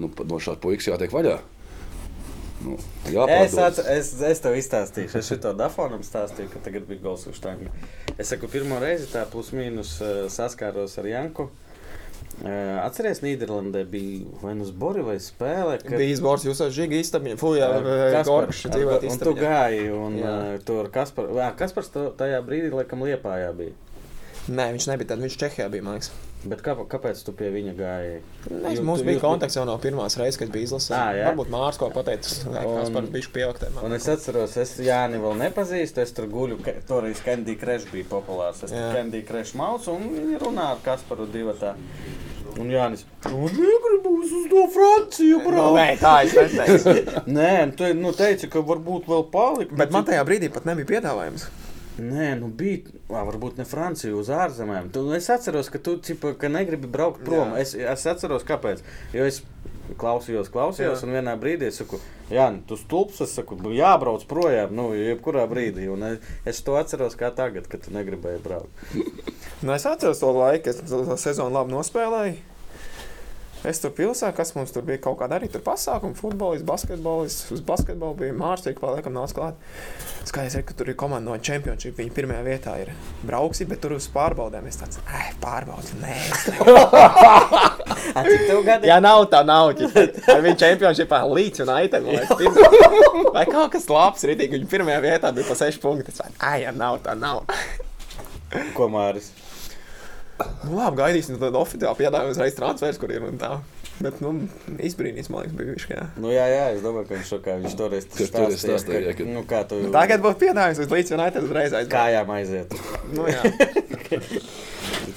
nu, pa- no šāda puikas jātiek vaļā. Nu, Es, jāpārdodas. atc- es, es tev izstāstīšu, es to dafonam stāstīju, ka tagad bija gals uz tām. Es saku, pirmo reizi tā plus-mínus eh, saskāros ar Janku. Eh, Atceries, Nīderlandē bija vai nu zbori vai spēle. kad- Bija izborts jūs ar žīgu īstabiņu. Fujā, Kaspars, Gorkš, eh, un dzīvot tu īstabiņā. gāji, un Jā. eh, tur Kaspar, jā, Kaspars to- tajā brīdī, laikam, liepājā bija. Nē, viņš nebija tad, viņš Čehijā bija, man liekas. Bet kā, kāpēc tu pie viņa gāji? Mēs, Jū- mums tu- bija jūs- kontakts jau no pirmās reizes, kad bija izlasīts. Ā, jā. Varbūt Mārcis kaut ko pateicis, kas Un- par bišu Un pieaugt. es atceros, es Jāni vēl nepazīstu. Es tur guļu, ka- toreiz Candy Crash bija populārs. Es Jā. tur Candy Crash maucu, un viņi runā ar Kasparu divatā. Un Jānis, es negribu uz to Nu, Franciju, brāl. [laughs] tā es neteicu. Nē, nu, tu nu, teici, ka varbūt vēl palikt. Bet man tajā brīdī pat nebija piedāvājums. Nē, nu bija, ā, varbūt ne Francija, uz ārzemēm. Tu, es atceros, ka tu cipa, ka negribi braukt prom. Jā. Es, es atceros, kāpēc. Jo es klausījos, klausījos, Jā. jā. un vienā brīdī es saku, Jā, nu, tu stulbs, es saku, "Bu- jābrauc projām, nu, jebkurā brīdī. Un es, es to atceros kā tagad, kad tu negribēji braukt. Nu, es atceros to laiku, es to sezonu labi nospēlēju. Es tur pilsētā, kas mums tur bija kaut kāda arī tur pasākuma, futbolists, basketbolists. Uz basketbolu bija Mārcis, kurš laikam nāca klāt. Skaidrs, ir, ka tur ir komanda no čempionāta. Viņa pirmajā vietā ir brauksi, bet tur uz pārbaudēm es tāds - pārbaudījums, nē, es negribu." A, cik tev gadi? Ja nav tā nauda, tad viņa čempionāta līdzi un [laughs] aitem. Vai kaut kas labs, rītīgi viņa pirmajā vietā bija pa 6 punktus. Ai, ja nav tā nauda. Ko Māris? Nu, labi, gaidīsim, tad oficiāli piedāvājums reizes transfers, kur ir un tā. Bet, nu, izbrīnīs, man liekas, bija viņš. jā. Nu, jā, jā, es domāju, ka viņš šokā, viņš toreiz tas Kas toreiz stāstīja, jā, ka, ka- nu, kā tu Tagad būtu piedāvājums uz līdz United uzreiz aizgāja. kājām aiziet. Nu, jā. [laughs]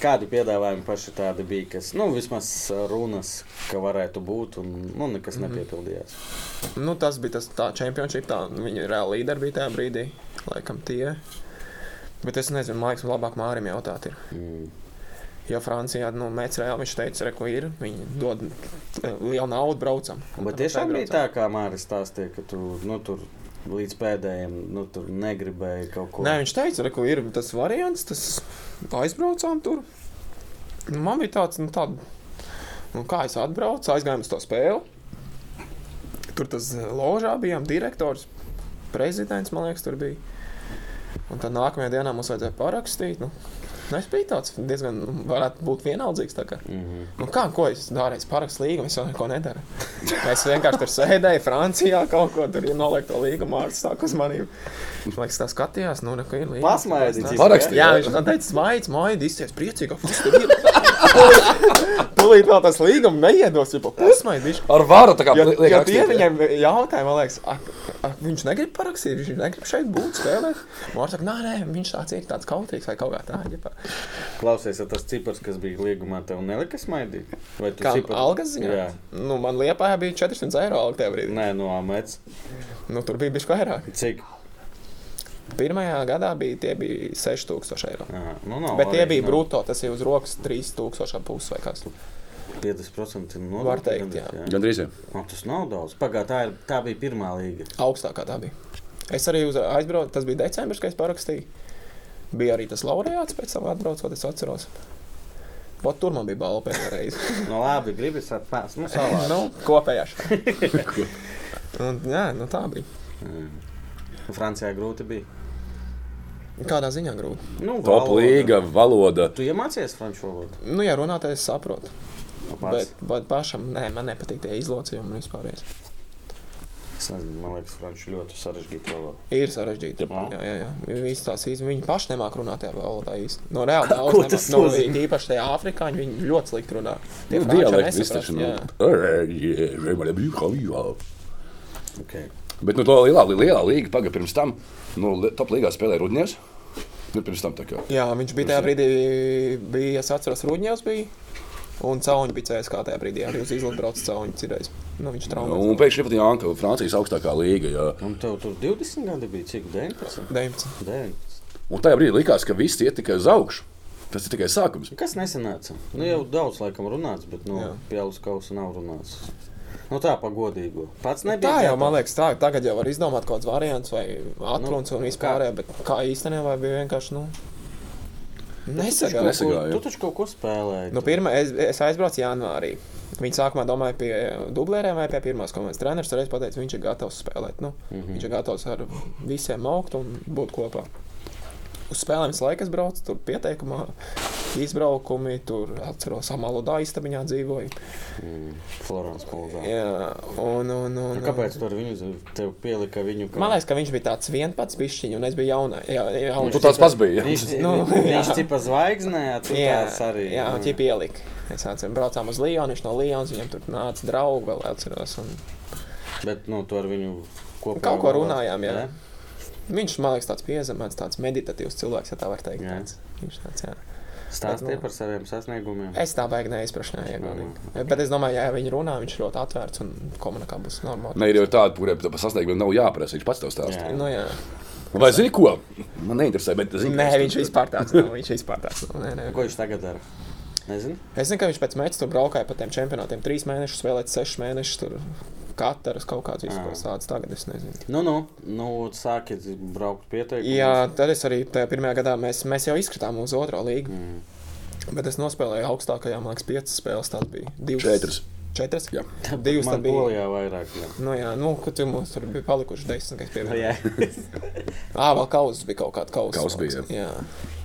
Kādi piedāvājumi paši tādi bija, kas, nu, vismaz runas, ka varētu būt, un nu, nekas Mhm. nepiepildījās. nu, tas bija tas tā championship, tā nu, viņa reāla līdera bija tajā brīdī, laikam tie. Bet es nezinu, man liekas, labāk Mārim jautāt ir. Mm. Jo Francijā, nu, mēs reāli viņš teica, re, ko ir, viņi dod eh, lielu naudu braucam. Un Bet tāpēc tiešām bija aizbraucam. tā, kā Mārcis stāstīja, ka tu nu, tur līdz pēdējiem nu, tur negribēji kaut ko Nē, viņš teica, ka ir tas variants, tas aizbraucām tur. Nu, Man bija tāds, nu, tād, nu kā es atbraucu, aizgājām uz to spēli. Tur tas eh, ložā bijām direktors, prezidents, man liekas, tur bija. Un tad nākamajā dienā mums vajadzēja parakstīt. Nu. nu, Es biju tāds diezgan, nu, varētu būt vienaldzīgs. tā kā. Mhm. Nu, kā, ko es daru? Es parakstu līgumu, es jau neko nedaru. [laughs] Es vienkārši tur sēdēju, Francijā kaut ko tur nolieku to līgumu, mārcis tā uzmanību. Man liekas, tā skatījās, nu, neko ir līgums. Pasmaidīts, Nē. jā. Parakstīja, Jā, jā. viņš man teica, smaids, maidi, izties priecīgi, kas tur ir. [laughs] Tūlīt vēl tas līgums neiedos, ja pasmaidīšu. Ar varu tā kā Jo, liek jo rakstīt, tie jā? viņam jautāja, man liekas, ak, ak, viņš negrib parakstīt, viņš negrib šeit būt, spēlēt. Mārcis saka, nē, nē, viņš tāds ir tāds kautīgs vai kaut kā tāda. klausies, ja tas cipars, kas bija līgumā, tev nelika smaidīt? Vai tu Kā cipars- algas ziņā? Jā. Nu, man liepā bija 400 eiro alga tajā brīdī. Nē, no amats. Nu, tur bija bijis vairāk. Cik? Pirmajā gadā bija, tie bija 6000 eiro. Jā, nu, nav, Bet tie arī, bija nav. brūto, tas ir uz rokas 3000 puses vai kas. 50% no Var teikt, jā. Gan drīz. No, tas nav daudz. Pagā, tā, ir, tā bija pirmā līga. Augstākā tā bija. Es arī uz, aizbraucu, tas bija decembris, kad es parakstīju. Bija arī tas laureāts pēc tam atbraucot, es atceros. Ot, tur man bija balva pēdējā [laughs] reize. No, labi, gribas atpēst. Nu, savā. nu, kopējā. Un, jā, nu tā bija. Francijā grūti bija. Kādā ziņā grūti. Nu, Top valoda. līga, valoda. Tu iemācījies franču valodu? Nu, Nu, ja runātais, es saprotu. Pats. Bet, bet pašam, nē, man nepatīk tie izlocījumi un vispār. Es nezinu, man liekas, franču ļoti sarežģīta valoda. Ir sarežģīti. Jā. Jā, jā, jā. Visas tās īstenībā viņi paši nemāk runāt tajā valodā īstenībā. No [laughs] reāli Kā- daudz ko nemāk. tas no, nozīmē? viņi- īpaši tajā Āfrikā viņi- viņi ļoti slikti runā. Tie Nu, franči dialekti nesaprast, viss taču. nu. jā. Ē, jē, jē, man bija halīvā. Okay. Bet nu, to lielā, lielā līga pagaidā pirms tam, nu, li- top līgā spēlēja Rudņevs. Nu, pirms tam tā kā. Jā, viņš bija tajā brīdī, bija, es atceros, Rudņevs bija. Un cauņi bija CSK tajā brīdī, arī uz izlaidu braucis cauņi citreiz. Nu, viņš Un traumēja. pēkšņi pat Jānka, Francijas augstākā līga. Jā. Un tev tur 20 gadi bija, cik 19? 19. 19. Un tajā brīdī likās, ka viss iet tikai uz augšu. Tas ir tikai sākums. Kas nesenāca? Nu, jau daudz laikam runāts, bet nu, Jā. pieaugušas kausa nav runāts. Nu, tā pa godīgo. Pats nebija. Nu, Tā jau, gatavs. man liekas, tā, tagad jau var izdomāt kaut kāds variants vai atruns un vispārējā, bet kā īstenībā bija vienkārši, nu, Tu taču kaut nesagādājums. ko- Nesagāju. Tu taču kaut ko spēlēji. Nu, tu- pirmā, es, es aizbraucu janvārī. Viņi sākumā domāja pie dublēriem vai pie pirmās komandas. Treneris reiz pateica, viņš ir gatavs spēlēt. Nu, mm -hmm. Viņš ir gatavs ar visiem augt un būt kopā. Uz spēlēm laikas braucu, tur pieteikumā, izbraukumi, tur atceros, Amaludā istabiņā dzīvoju. Mm, Florence Pūlā. Jā, un, un, un, un, Kāpēc tur viņu tev pielika viņu? kā- Man liekas, ka viņš bija tāds viens pats pišķiņš, un es biju jaunā. Jā, Un jaunais. Tu tāds Nu, pats biji. Viņš ja? nu, [laughs] Nu, viņš jā. tipa zvaigznē, jā, tu tāds arī. mm. Jā, un tie pielika. Mēs atceram, braucām uz Lyonu, viņš no Lyonas, viņam tur nāca draugi, vēl atceros. Un... Bet, nu, tu ar viņu kopā. Nu, Kaut ko vēl- runājām, jā. Viņš, man liekas, tāds piezemēts, tāds meditatīvs cilvēks, ja tā var teikt. Jā. Tāds. Viņš tāds, jā. Stāstīja Bet, nu- par saviem sasniegumiem. Es tā baigi neizprašināju, iegādīgi. Bet es domāju, ja viņi runā, viņš ir ļoti atvērts un komunikā būs normāli. Ne, ir jau tāda, kuriem par sasniegumiem nav jāprasa. Viņš pats tev stāsta. Jā. Nu, jā. Vai zini, ko? Man neinteresē, bet zini, Nē, viņš vispār tāds nav. Viņš vispār tāds nav. Nē, nē. Ko viņš tagad dara? Nezinu. Es zinu, ka viņš pēc meča tur braukāja pa tiem čempionātiem. Trīs mēnešus, spēlēja sešus mēnešus. Tur katrs kaut kāds Ā. vispār tāds tagad, es nezinu. Nu, nu, nu sāki braukt pieteikumus. Jā, tad es arī tajā pirmajā gadā mēs, mēs jau izkritām uz otro līgu. Mm. Bet es nospēlēju augstākajā, man liekas, piecas spēles. Tās bija divas. [laughs] Četras. Četras? Jā. Divas Man tad bija. Polijā vairāk. [laughs] Jā. Nu, jā, nu, kad tu mums tur bija palikuši desmit, kas Nu, [laughs] pievienojās. jā. Ā, vēl kausas bija kaut kāda kausa. Kausas bija, jā.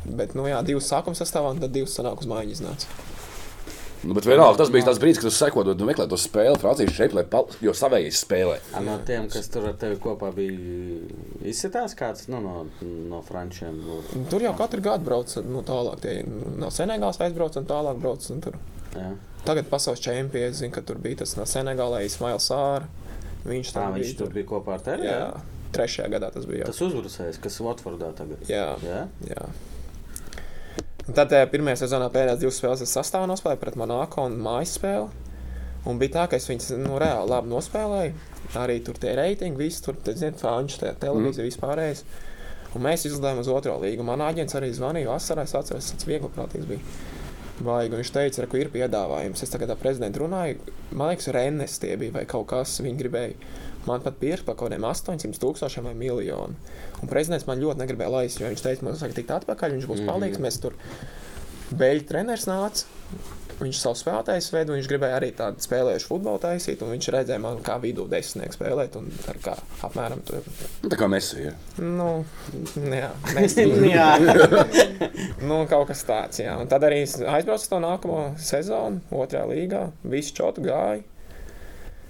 Bet, nu, jā, divas sākuma sastāvā, un tad divas sanāk uz mājiņas nāca. Nu, bet vienalga, tas bija tas brīdis, kad es sekoju, kad meklēju to spēli Francijas šeit, lai pal... jo savējais spēlē. A No tiem, kas tur ar tevi kopā bija, izsitās kāds nu, no, no frančiem. Nu, Un Tur jau katru gadu brauc nu, tālāk. Tie nu, no Senegālas aizbrauc un tālāk brauc. Un tur. jā. Tagad pasaules čempions, zinu, ka tur bija tas no Senegālē, Ismails Sāra. Tā Viņš tur viņš bija. tur bija kopā ar tevi. Jā, trešajā gadā tas bija. Jau. Tas uzbrucējs, kas Watfordā tagad. Jā, Jā. jā. Un Tad tajā pirmajā sezonā pēdējās divas spēles es sastāvā nospēlēju pret Monako un mājas spēli. Un bija tā, ka es viņas nu, reāli labi nospēlēju. Arī tur tie reitingi, viss tur, te, zinu, franču, tā televīzija, mm. vispārējais. Un mēs izlidojām uz otro līgu. Man aģents arī zvanīja vasarā, es atceros, tas viegli prātīgs bija. Vajag, un viņš teica, ka ir piedāvājums. Es tagad ar prezidentu runāju, man liekas, Rennes tie bija vai kaut kas, viņi gribēja. Man pat pirkt par kaut kādiem 800 tūkstošiem vai miljonu. Un prezidents man ļoti negribēja laist, jo viņš teica, man vajag tikt atpakaļ, viņš būs palīgs. Mēs tur beļģu treneris nāca. Viņš savu spēlētāju veidu, viņš gribēja arī tādu spēlējušu futbolu taisīt, un viņš redzēja man kā vidū desmitnieku spēlēt, un tā kā apmēram tur. Nu, tā kā mēs esam. Nu, jā, [laughs] mēs, [laughs] jā. nu, kaut kas tāds, jā. Un tad arī es aizbraucu to nākamo sezonu, otrajā līgā. Visi čotri gāja.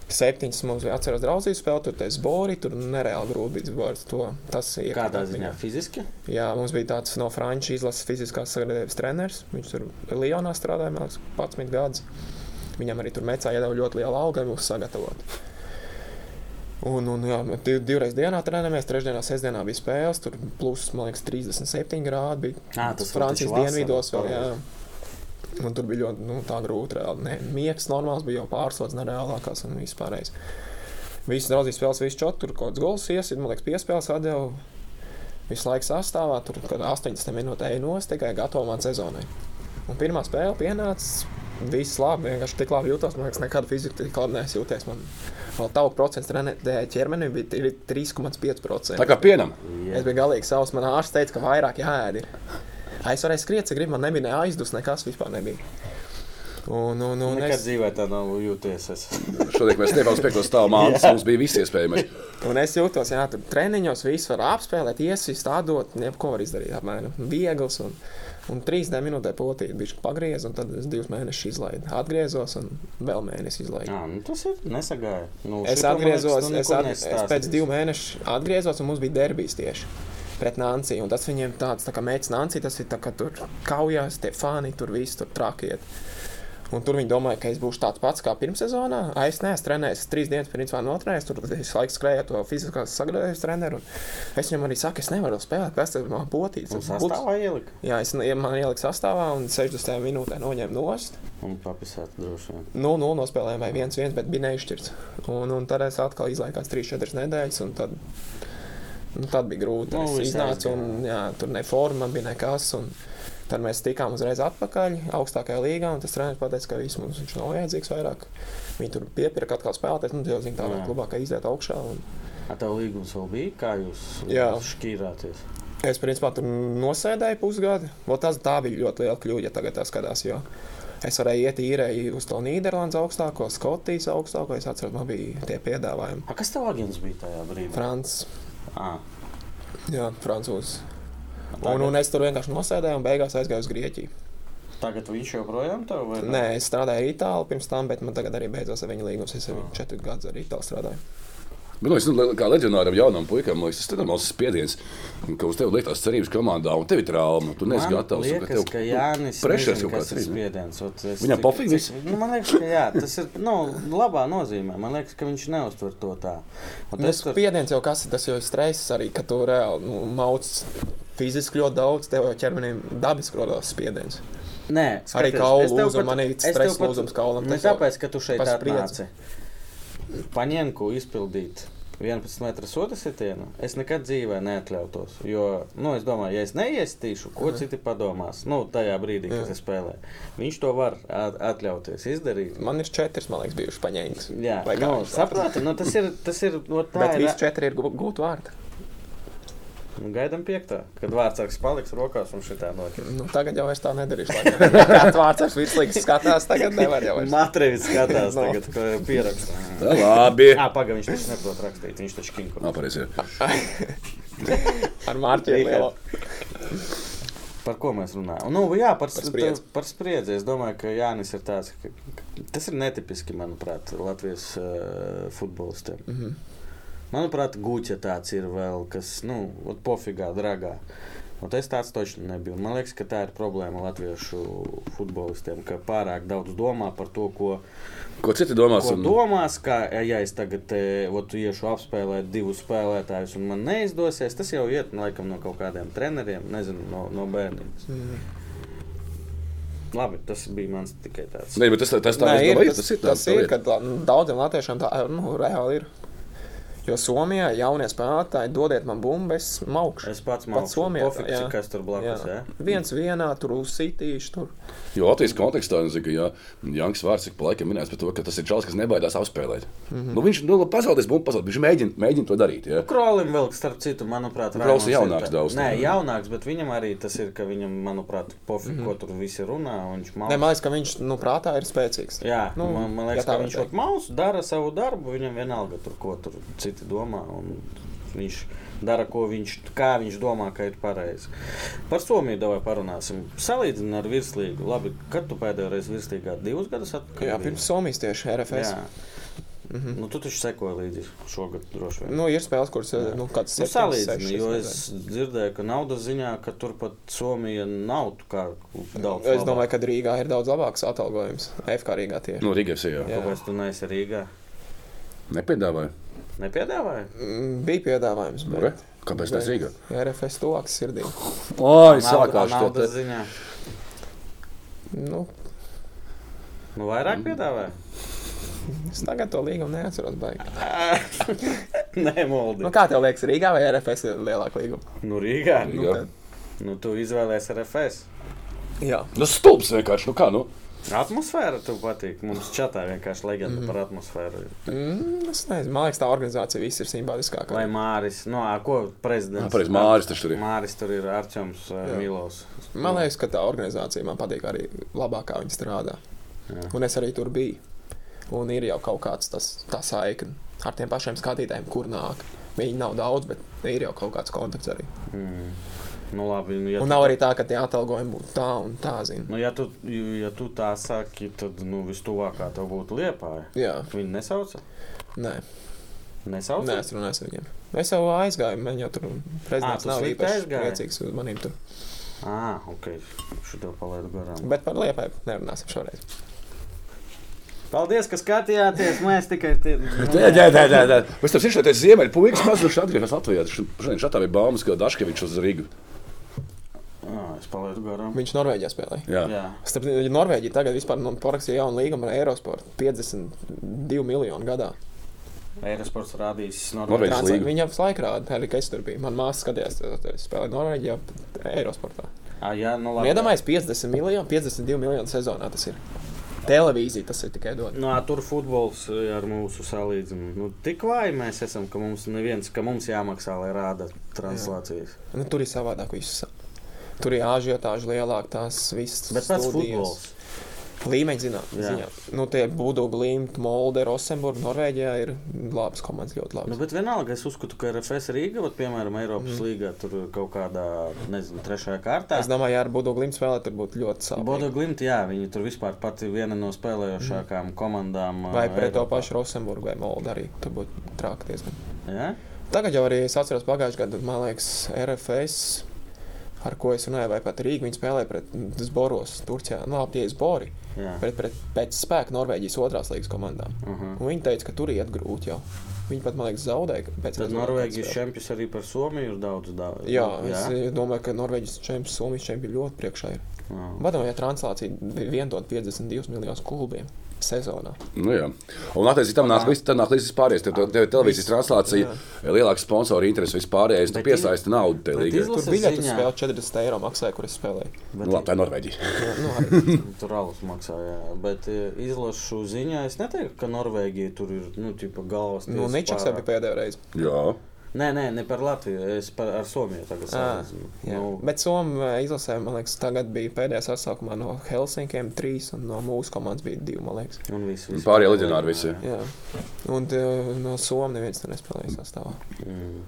Septiņas mums bija atceros draudzības spēle, tur tas bori, tur nereāli grūti bija zbori to. Tas ir. Kādā ziņā fiziski? Jā, mums bija tāds no Francijas izlases fiziskās sagatavotības treneris. Viņš tur Lionā strādāja, man liekas, 11 gadus. Viņam arī tur mecā iedeva ļoti lielu algu, lai mūs sagatavotu. Un, un jā, mēs div, divreiz dienā trenējamies, trešdienā, sestdienā bija spēles, tur plus, man liekas, 37 grādi. Bija Ā, tas vēl Francijas taču vasarā, dienvidos vēl, jā. pareizi. Un tur bija ļoti nu, tā grūti. Reāli. Ne, miegs normāls bija jau pārslodzes, nereālākās un vispārējais. Visas draudzības spēles, visas četras, tur kaut kāds gols iesit, man liekas, piespēles atdeva. Visu laiku sastāvā, tur kaut kāda 80 minūte ejot, tikai gatavojumā sezonai. Un pirmā spēle pienāca. Viss labi, vienkārši tik labi jūtos. Man liekas, nekad fiziski tik labi nesijūties. Man vēl tauku procents trenētajā ķermenī bija tri- 3,5%. Tā kā pienam. Es biju galīgi savs. Man ārsts teica, ka vairāk jāēd. Ir. Es varēju skriet, ja gribi. Man nebija ne aizdus, nekas vispār nebija. Un, un, un Nekad Nu, es, dzīvē tā nav jūties. Es. Šodien mēs Stefāns piekto stāvam mātes, mums bija viss iespējamais. un es jūtos, jā, tur treniņos viss var apspēlēt, iesist, atdot, neko var izdarīt. Apmēram viegls. Un, un 3D minūtē potīt, bija pagriezis, un tad es divus mēnešus izlaidu. Atgriezos un vēl mēnesi izlaidu. Jā, nu tas ir nesagāja. Nu, Es šito, man liekas, atgriezos, tu nu, es, nekur at, es nestāstīsi. pēc diviem mēnešiem atgriezos, un mums bija derbijas tieši pret Nānciju. Un Tas viņiem tāds tā kā mēģinājums, Nācija, tas ir tā kā tur kaujās, tie fani tur viss tur trakiet. Un tur viņi domāja, ka es būšu tāds pats kā pirmssezonā. Ai, Es neesmu trenējis, es trīs dienas pirms tam notrunājos, tur visu laiku skrēju ar to fiziskās sagatavošanās treneru. un Es viņam arī saku, es nevaru spēlēt, pēc tam man potīts. Un sastāvā ielika. Jā, es man ieliku sastāvā un 60 minūtē noņēmu nost. Un papisāt droši vien. Nu, nu, nospēlējām vai viens, viens, bet bija neizšķirts. Un, un tad es atkal izlaikās 3-4 nedēļas, un tad, nu, tad bija grūti. Nu, Nu, es viss iznācu, un jā, tur ne forma, bija nekas. Un, tad mēs tikām uzreiz atpakaļ augstākajā līgā, un tas treneris pateica, ka viss mums viņš nav vajadzīgs vairāk. Viņi tur piepirka atkal spēlētājs, nu, jau zina, tā Jā. vēl labāk aiziet augšā. Un, A tev līgums vēl bija, kā jūs Jā. šķīrāties? Es principā tur nosēdēju pusgadu. Vēl tas, tā bija ļoti liela kļūda, ja tagad tā skatās. Jo. Es varēju iet īrēji uz to Nīderlandes augstāko, Skotijas augstāko. Es atceros, man bija tie piedāvājumi. A, kas tev agents bija tajā brīdī? Frančs, Ah, Jā, Francūzs. Un, tagad, un es tur vienkārši nosēdēju un beigās aizgāju uz Grieķiju. tagad viņš joprojām tev vai? Nē, es strādāju Itālijā pirms tam, bet man tagad arī beidzās ar viņu līgums. Es jau četrus gadus ar Itāliju strādāju. Bet, nu, es, nu, le- kā leģionāram, jaunam puikam, man liekas, tas ir normāls spiediens, ka uz tevi liek tās cerības komandā, un tev ir trauma. Tu neesi Man gatavs. un Liekas, tev, ka nu, Jānis prešers nezina, kaut kāds kas ir ir. ne? spiediens. Ot, es Viņam tik- pofīgi cik- viss? Nu, man liekas, ka jā, tas ir nu, labā nozīmē. Man liekas, ka viņš neuztver to tā. Un Tas tas tur Nu, spiediens jau kas ir, tas jau ir stress arī, ka tu reāli nu, mauc fiziski ļoti daudz, tev jau ķermenim dabiski rodas spiediens. Nē, Arī skaties, kaulu es tev lūzuma, pat- man ir es tev stress pat- lūzums kaulam, Ne tas jau tāpēc, ka tu šeit paspriedz. atnāci. Paņemku izpildīt 11 metrus otru sitienu. nu? Es nekad dzīvē neatļautos. Jo, nu, es domāju, ja es neiestīšu, ko citi padomās. Nu, tajā brīdī, kad Jā. es spēlēju. Viņš to var at- atļauties izdarīt. Man ir četras, man liekas, bijušas paņēmis. Jā, Nu, Vai kā nu, viņš saproti, nu, tas ir, tas ir, no tā Bet ir. visi četri ir gu- gūti vārdi. Nu, gaidam piektā, kad vārdsargs paliks rokās un šitā notiek. Nu, tagad jau es tā nedarīšu. [laughs] Kāds vārds ar vislīgas skatās, tagad nevar jau vairs. Matrevis skatās [laughs] No. tagad, ko [laughs] pierakstā. Tā, Labi. Jā, pagaidi, viņš taču neprot rakstīt, viņš taču kinko. Nā, pareizi. jā. Ar Mārķi ir liela. Par ko mēs runājam? Nu, jā, par, par, spriedzi. spriedzi. par spriedzi. Es domāju, ka Jānis ir tāds, ka ka tas ir netipiski, manuprāt, Latvijas uh, futbolistiem. Mm Mhm, -hmm. Manuprāt, Guķa tāds ir vēl, kas, nu, ot pofigā, dragā. Un es tāds točni nebiju. Man liekas, ka tā ir problēma latviešu futbolistiem, ka pārāk daudz domā par to, ko, Ko citi domās? ko un- domās. Ka, ja es tagad eh, ot, iešu apspēlēt divus spēlētājus un man neizdosies, tas jau iet nu, laikam, no kaut kādiem treneriem, nezinu, no, no bērnības. mhm. Labi, tas bija mans tikai tāds. Nē, bet tas, tas tā Nē, es ir, domāju, tas, tas ir. Tas tā ir, lieta. kad la- nu, daudziem latviešiem tā nu, reāli ir. Jo Somijā jaunie spēlētāji dodiet man bumbu, es maukšu. Es pats Pat Somijā mācījos, tā, jā. kas tur blakus Jā. ir. Viens vienā tur uzsītīšu. Tur. Jo Latvijas kontekstā nu, jau zinu, ka Jānis Vārts ik pa laikam minēts par to, ka tas ir čels, kas nebaidās apspēlēt. Mm -hmm. nu, viņš nu, pazaudēs bumbu, pazaudēs. Viņš mēģina, mēģina to darīt. Jā. Krolim vēl, starp citu, manuprāt, Krols ir Raimonds jaunāks tā- daudz, Nē, jā. jaunāks, bet viņam arī tas ir, ka viņam, manuprāt, pofīgi, mm -hmm. ko tur visi runā. un Viņš Nē, maus. Mhm. man liekas, ka viņš nu, prātā ir spēcīgs. Jā, nu, Nu, man, man ja liekas, tā ka var viņš teikt. kaut maus dara savu darbu, viņam vienalga tur, ko tur citi domā. un Viņš dara, ko viņš, kā viņš domā, ka ir pareizi. Par Somiju davai parunāsim. Salīdzinām ar virslīgu. Labi, kad tu pēdējo reizi virslīgā divus gadus atpakaļ? Jā, biji? pirms Somijas tieši RFS. Jā. Mm -hmm. nu, tu taču sekoji līdzi šogad, droši vien. Mhm. Nu, ir spēles, kuras nu, kāds Nu, septiņas, Salīdzinu, sešas jo reizes. es dzirdēju, ka naudas ziņā, ka turpat Somija nav tā kā daudz. Es domāju, ka Rīgā ir daudz labāks atalgojums. FK Rīgā tie ir. Nu, Rīgā jau ka Jā. kāpēc tu neesi Rīgā? nepiedāvāja. Nepiedāvāji? Mm, Bija piedāvājums, Nu, Nu, Re, bet Kāpēc tas ir Rīgā? RFS tuvāks sirdī. O, Nu, es Nauda- sākās to naudas te. ziņā. Nu, Nu, vairāk piedāvāji? es tagad to līgumu neatceros. Baigi. Nē, Moldi. Nu, kā tev liekas, Rīgā vai RFS ir lielāka līguma? Nu, Rīgā. Rīgā. tad- Nu, tu izvēlējies RFS. Jā, Nu, stulbs vienkārši. Nu, kā, nu? Atmosfēra tev patīk. Mums čatā vienkārši leģenda par atmosfēru. ir. mm, es nezinu. Man liekas, tā organizācija viss ir simpātiskākā. Vai Māris? Nu, ā, ko prezidents? Jā, nu, pareizi, Māris taču tur ir. Māris tur ir Arčuns Milovs. Man liekas, ka tā organizācija man patīk arī labāk, kā viņi strādā. Jā. Un es arī tur biju. Un ir jau kaut kāds tas tā saikne ar tiem pašiem skatītājiem, kur nāk. Viņi nav daudz, bet ir jau kaut kāds kontakts arī. Mm. Nu, labi, nu, ja Un tu nav arī tā, ka tie atalgojumi būtu tā un tā, zina. Nu, ja, tu, ja tu tā saki, tad nu, vistuvākā tev būtu liepa. Jā, Viņa nesauca. nē, Nesauca. nē, es runāju ar viņiem. Es jau aizgāju, man jau tur Ā, Ah, prezidents tu nav slikti īpaši aizgāji? priecīgs uz manīm tur. Ah, ok. Šo tev palaidu garām. Bet par liepai nerunāsim šoreiz. Paldies, ka skatījāties. Mēs tikai Nē, tādu. nē, nē, nē, nē. Mēs tam šeit esam ziemeļi. Puikas pazuduši atgriezās Latvijā. Š- Šodien šatā bija baumas, ka Daškevičs uz Rīgu. Ah, es palaidu garām. Viņš Norvēģijā spēlēja. Jā. Jā. Starp citu, Norvēģija tagad vispār nu, parakstīja jaunu līgumu ar Eirosportu - 52 miljonu gadā. Eirosports rādīs Norvēģis. Norvēģiju. Norvēģijas Trans- līgu. Viņam laikā rādīja, arī ka es tur biju. Manā māsā skatījās, kā viņš spēlēja Norvēģijā, e, Eirosportā. Ah, jā, nu labi. Iedomājieties, 50 miljoni, 52 miljoni sezonā tas ir. Televīzija tas ir tikai dot. Nu, ā, tur futbols e, ar mūsu salīdzinājumu. Nu, tik vāji mēs esam, ka mums neviens, ka mums jāmaksā, lai rāda translācijas. Nu, tur ir savādāk. Viss. Tur ir ažiotāža lielāka, tās visas Bet pats studijas. futbols. Līmeņa ziņā. Jā. ziņā. Nu, tie būdu Glimt, Molde, Rosenburg, Norvēģijā ir labas komandas, ļoti Nu, labas. bet vienalga, es uzskatu, ka RFS Rīga, vat, piemēram, Eiropas mm. līgā, tur kaut kādā, nezinu, trešajā kārtā. Es domāju, ja ar būdu Glimt spēlēt, tad būtu ļoti Bodo sāpīgi. Glimta, jā, viņi tur vispār pati viena no spēlējošākām komandām. ā, Mm. Vai pret to Eiropā. pašu Rosenburgu vai Molde arī, tad būtu trāk diezgan. Jā? Tagad jau arī es atceros pagājušā gada, man liekas, RFS, ar ko es runāju, vai pat Rīgā. Viņi spēlēja pret mm, Zboros, Turcijā, Nu, no aptiekas Bori, Jā. pret, pret pēc spēka Norvēģijas otrās līgas komandām. Uh -huh. Un viņi teica, ka tur iet grūti jau. Viņi pat, man liekas, zaudēja. ka Pēc Tad rezultātu Norvēģijas spēlē. čempions arī par Somiju ir daudz dāvājis. Jā, es jā. domāju, ka Norvēģijas čempions, Somijas čempions ļoti priekšā ir. Vadām, ja translācija vien dod 52 miljonus klubiem sezonā. Nu, jā. un attiecīgi tam nāk līdzi, nāk līdzi vispārējais. Tev, tev ir televīzijas translācija, lielāka sponsora interese vispārējais. Tu Bet iz- piesaisti naudu tev bet līgai. izla- Tur Lases bija ziņā. 40 eiro maksāja, kur es spēlēju. Nu, [laughs] labi, tā ir Norvēģija. Jā, nu, arī. Tur alus maksāja, bet e, izlašu ziņā es neteiktu, ka Norvēģija tur ir nu, tipa, galvas. nu, tiesa Ničaksā bija pēdējā reize. Jā, Nē, nē, ne par Latviju. Es par ar Somiju tagad Ā, saprotu. Ah, Jā. Nu, Bet Somijā izlasē, man liekas, tagad bija pēdējā sasaukumā no Helsinkiem trīs, un no mūsu komandas bija divi, man liekas. un viss. Un pārējie leģionāri visi. Jā. Un eh, no Somijas neviens tur nespēlēja sastāvā. Mm.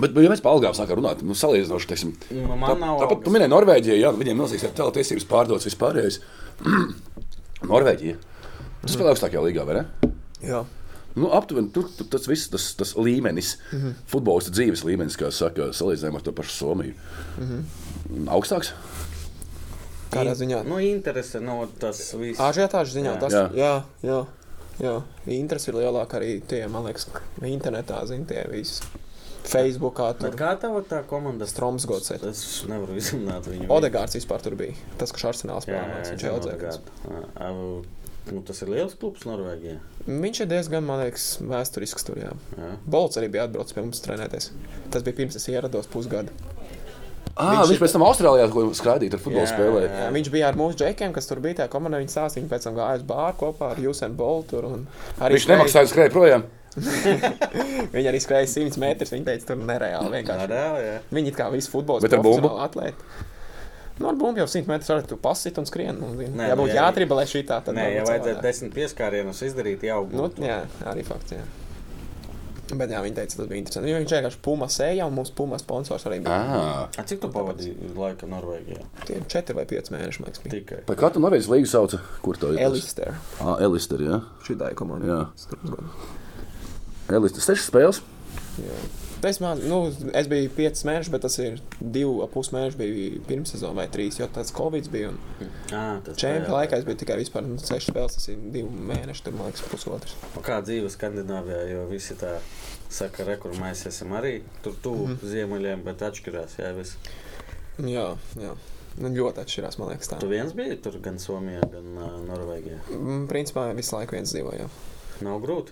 bet ja mēs par algām sākam runāt. Nu, salīdzinoši, teiksim, Nu, tā, Man nav. tāpat tu algas. minēji Norvēģiju, jā, nu, viņiem milzīgs ir teletiesības pārdots vispārējais. [clears throat] Norvēģija. Tas spēlē augstākajā līgā, vai ne? Jā. Nu, aptuveni tur, tur tas viss, tas, tas līmenis, mm Mhm, -hmm. futbolistu dzīves līmenis, kā saka, salīdzinājumā ar to pašu Somiju. Mm -hmm. Augstāks? mhm. Kādā In- ziņā? Nu, interese nav tas viss. Ažiotāžu ziņā Jā. tas Jā. ir. Jā, jā. jā. Interesi ir lielāka arī tie, man liekas, internetā, zin, tie visi. Facebookā Bet tur Nu, kā tev tā komanda Stromsgods ir. Es nevaru izrunāt viņu. Odegārds vispār tur bija. Tas, kurš Arsenāls Jā, spēlēja, jā, viņš jā, jau jā, audzēja. jā. Nu, tas ir liels klubs Norvēģijā. Viņš ir diezgan, man liekas, vēsturisks tur, jā. Jā. Bolts arī bija atbraucis pie mums trenēties. Tas bija pirms es ierados pusgadu. Ah, Viņš viņš, viņš ir- pēc tam Austrālijā ko skaidīja, ar futbolu Jā, jā. spēlēja. Jā, viņš bija ar mūsu džekiem, kas tur bija tajā komandā. Viņi stāstīja, viņi pēc tam gāja uz bāru kopā ar Jusenu Boltu. un Arī Viņš nemaksāja, skrēja projām. Viņi arī skrēja 100 metrus. Viņi teica, tur nereāli vienkārši. Reāli, jā. Viņi it kā visu futbolu Bet ar bumbu? atlētu. Nu, ar bumbu jau 100 metrus arī tu pasit un skrien. Un, Nē, Nē, ja nu, būtu jā, jāatriba, lai šī tā tad Nē, ja varbūt vajadzētu savādāk. desmit pieskārienus izdarīt, jau Nu, būtu. jā, arī fakts. Jā. Bet jā, viņi teica, tas bija interesanti. Jo Viņš vienkārši puma sēja un mūsu puma sponsors arī bija. Ah. A, cik tu pavadīji laika Norvēģijā? Tie 4 vai 5 mēneši, man liekas, bija. Tikai. Par katru norvēģis līgu sauca, kur tā ir. Elistera. Ah, Elister, jā. Šī tā ir komanda. Jā. Strasbourg. Elister, sešas spēles. Jā. Es, man, nu, es biju 5 mēneši, bet tas ir 2,5 mēneši. Bija pirms sezonas vai 3, jo tas Covid bija. À, tas Čempionā laikā es biju tikai vispār 6 spēles. Tas ir 2 mēneši, tur man liekas, pusotrs. Kā dzīve Skandināvijā, jo visi tā saka, re, kur mēs esam arī tur tuvu mm. ziemeļiem, bet atšķirās. Jā, viss. Jā, jā. Nu, ļoti atšķirās, man liekas, tā. Tu viens biji tur gan Somijā, gan uh, Norvēģijā. Mm, Principā visu laiku viens dzīvoja. Nav grūti.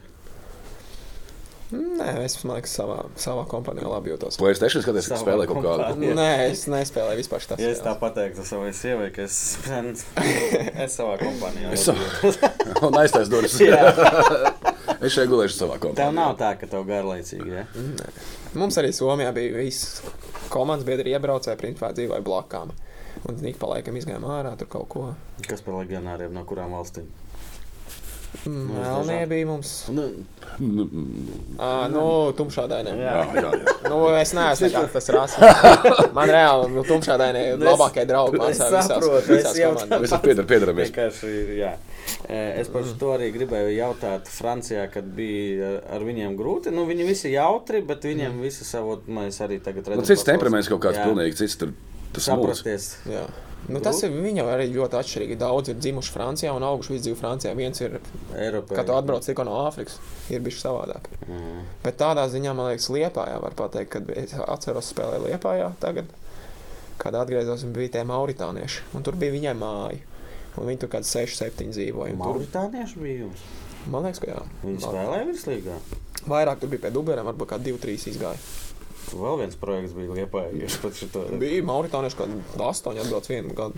Nē, es domāju, ka savā, savā kompānijā labi jūtos. Playstation skaties, ka Savā spēlē kaut kādu. kompānijā. Nē, es nespēlēju vispār tādu Ja es tā pateiktu savai sievai, ka es, es savā kompānijā Es esmu. Un aiztais durvis. es šeit gulēšu savā Tev komandā. nav tā, ka tev garlaicīgi. Ja? Mums arī Somijā bija viss komandas biedri iebraucēji, principā dzīvoja blakām. Un ik pa laikam izgājām ārā tur kaut ko. Kas par legionāriem no kurām valstīm? Mm, Mums Melnie dažādi. bija mums. Nu, Nu, mm, Ā, nu, tumšā dainē. Jā, jā, jā. Nu, es neesmu nekāds tas [laughs] rases. Man reāli, nu, tumšā dainē ir Nu, es- labākie draugi. es pārsvarā saprotu, visās, es visās jau komandās. Mēs piedar, piedaramies. vienkārši ir, jā. E, Es par to arī gribēju jautāt. Francijā, kad bija ar- ar viņiem grūti, nu viņi visi jautri, bet viņiem visi savot, mēs arī tagad redzam. Mm. Nu, cits paklausās. temperaments kaut kāds Jā. pilnīgi cits. Tur, tas mūks. Saprasties. Jā. Nu, tas ir viņam arī ļoti atšķirīgi. Daudz ir dzimuši Francijā un auguši visu dzīvi Francijā. Viens ir, Eiropā. kad tu atbrauc tikko no Āfrikas, ir bijis savādāk. Mhm. Bet tādā ziņā man liekas, Lietpājā var pateikt, kad es atceros, spēlēju Lietpājā tagad, kad atgriezos un bija tie mauritānieši. Un tur bija viņai māja. Un viņi tur kaut kāds 6, 7 dzīvoja. Un Tur, Mauritānieši bija jums. man liekas, ka jā. Viņi spēlēja virslīgā. Vairāk tur bija pie Dublera, varbūt kā 2, 3 izgāja. Vēl viens projekts bija Liepājā. Bija mauritānieši, kad 8 atbrauc vienu gadu.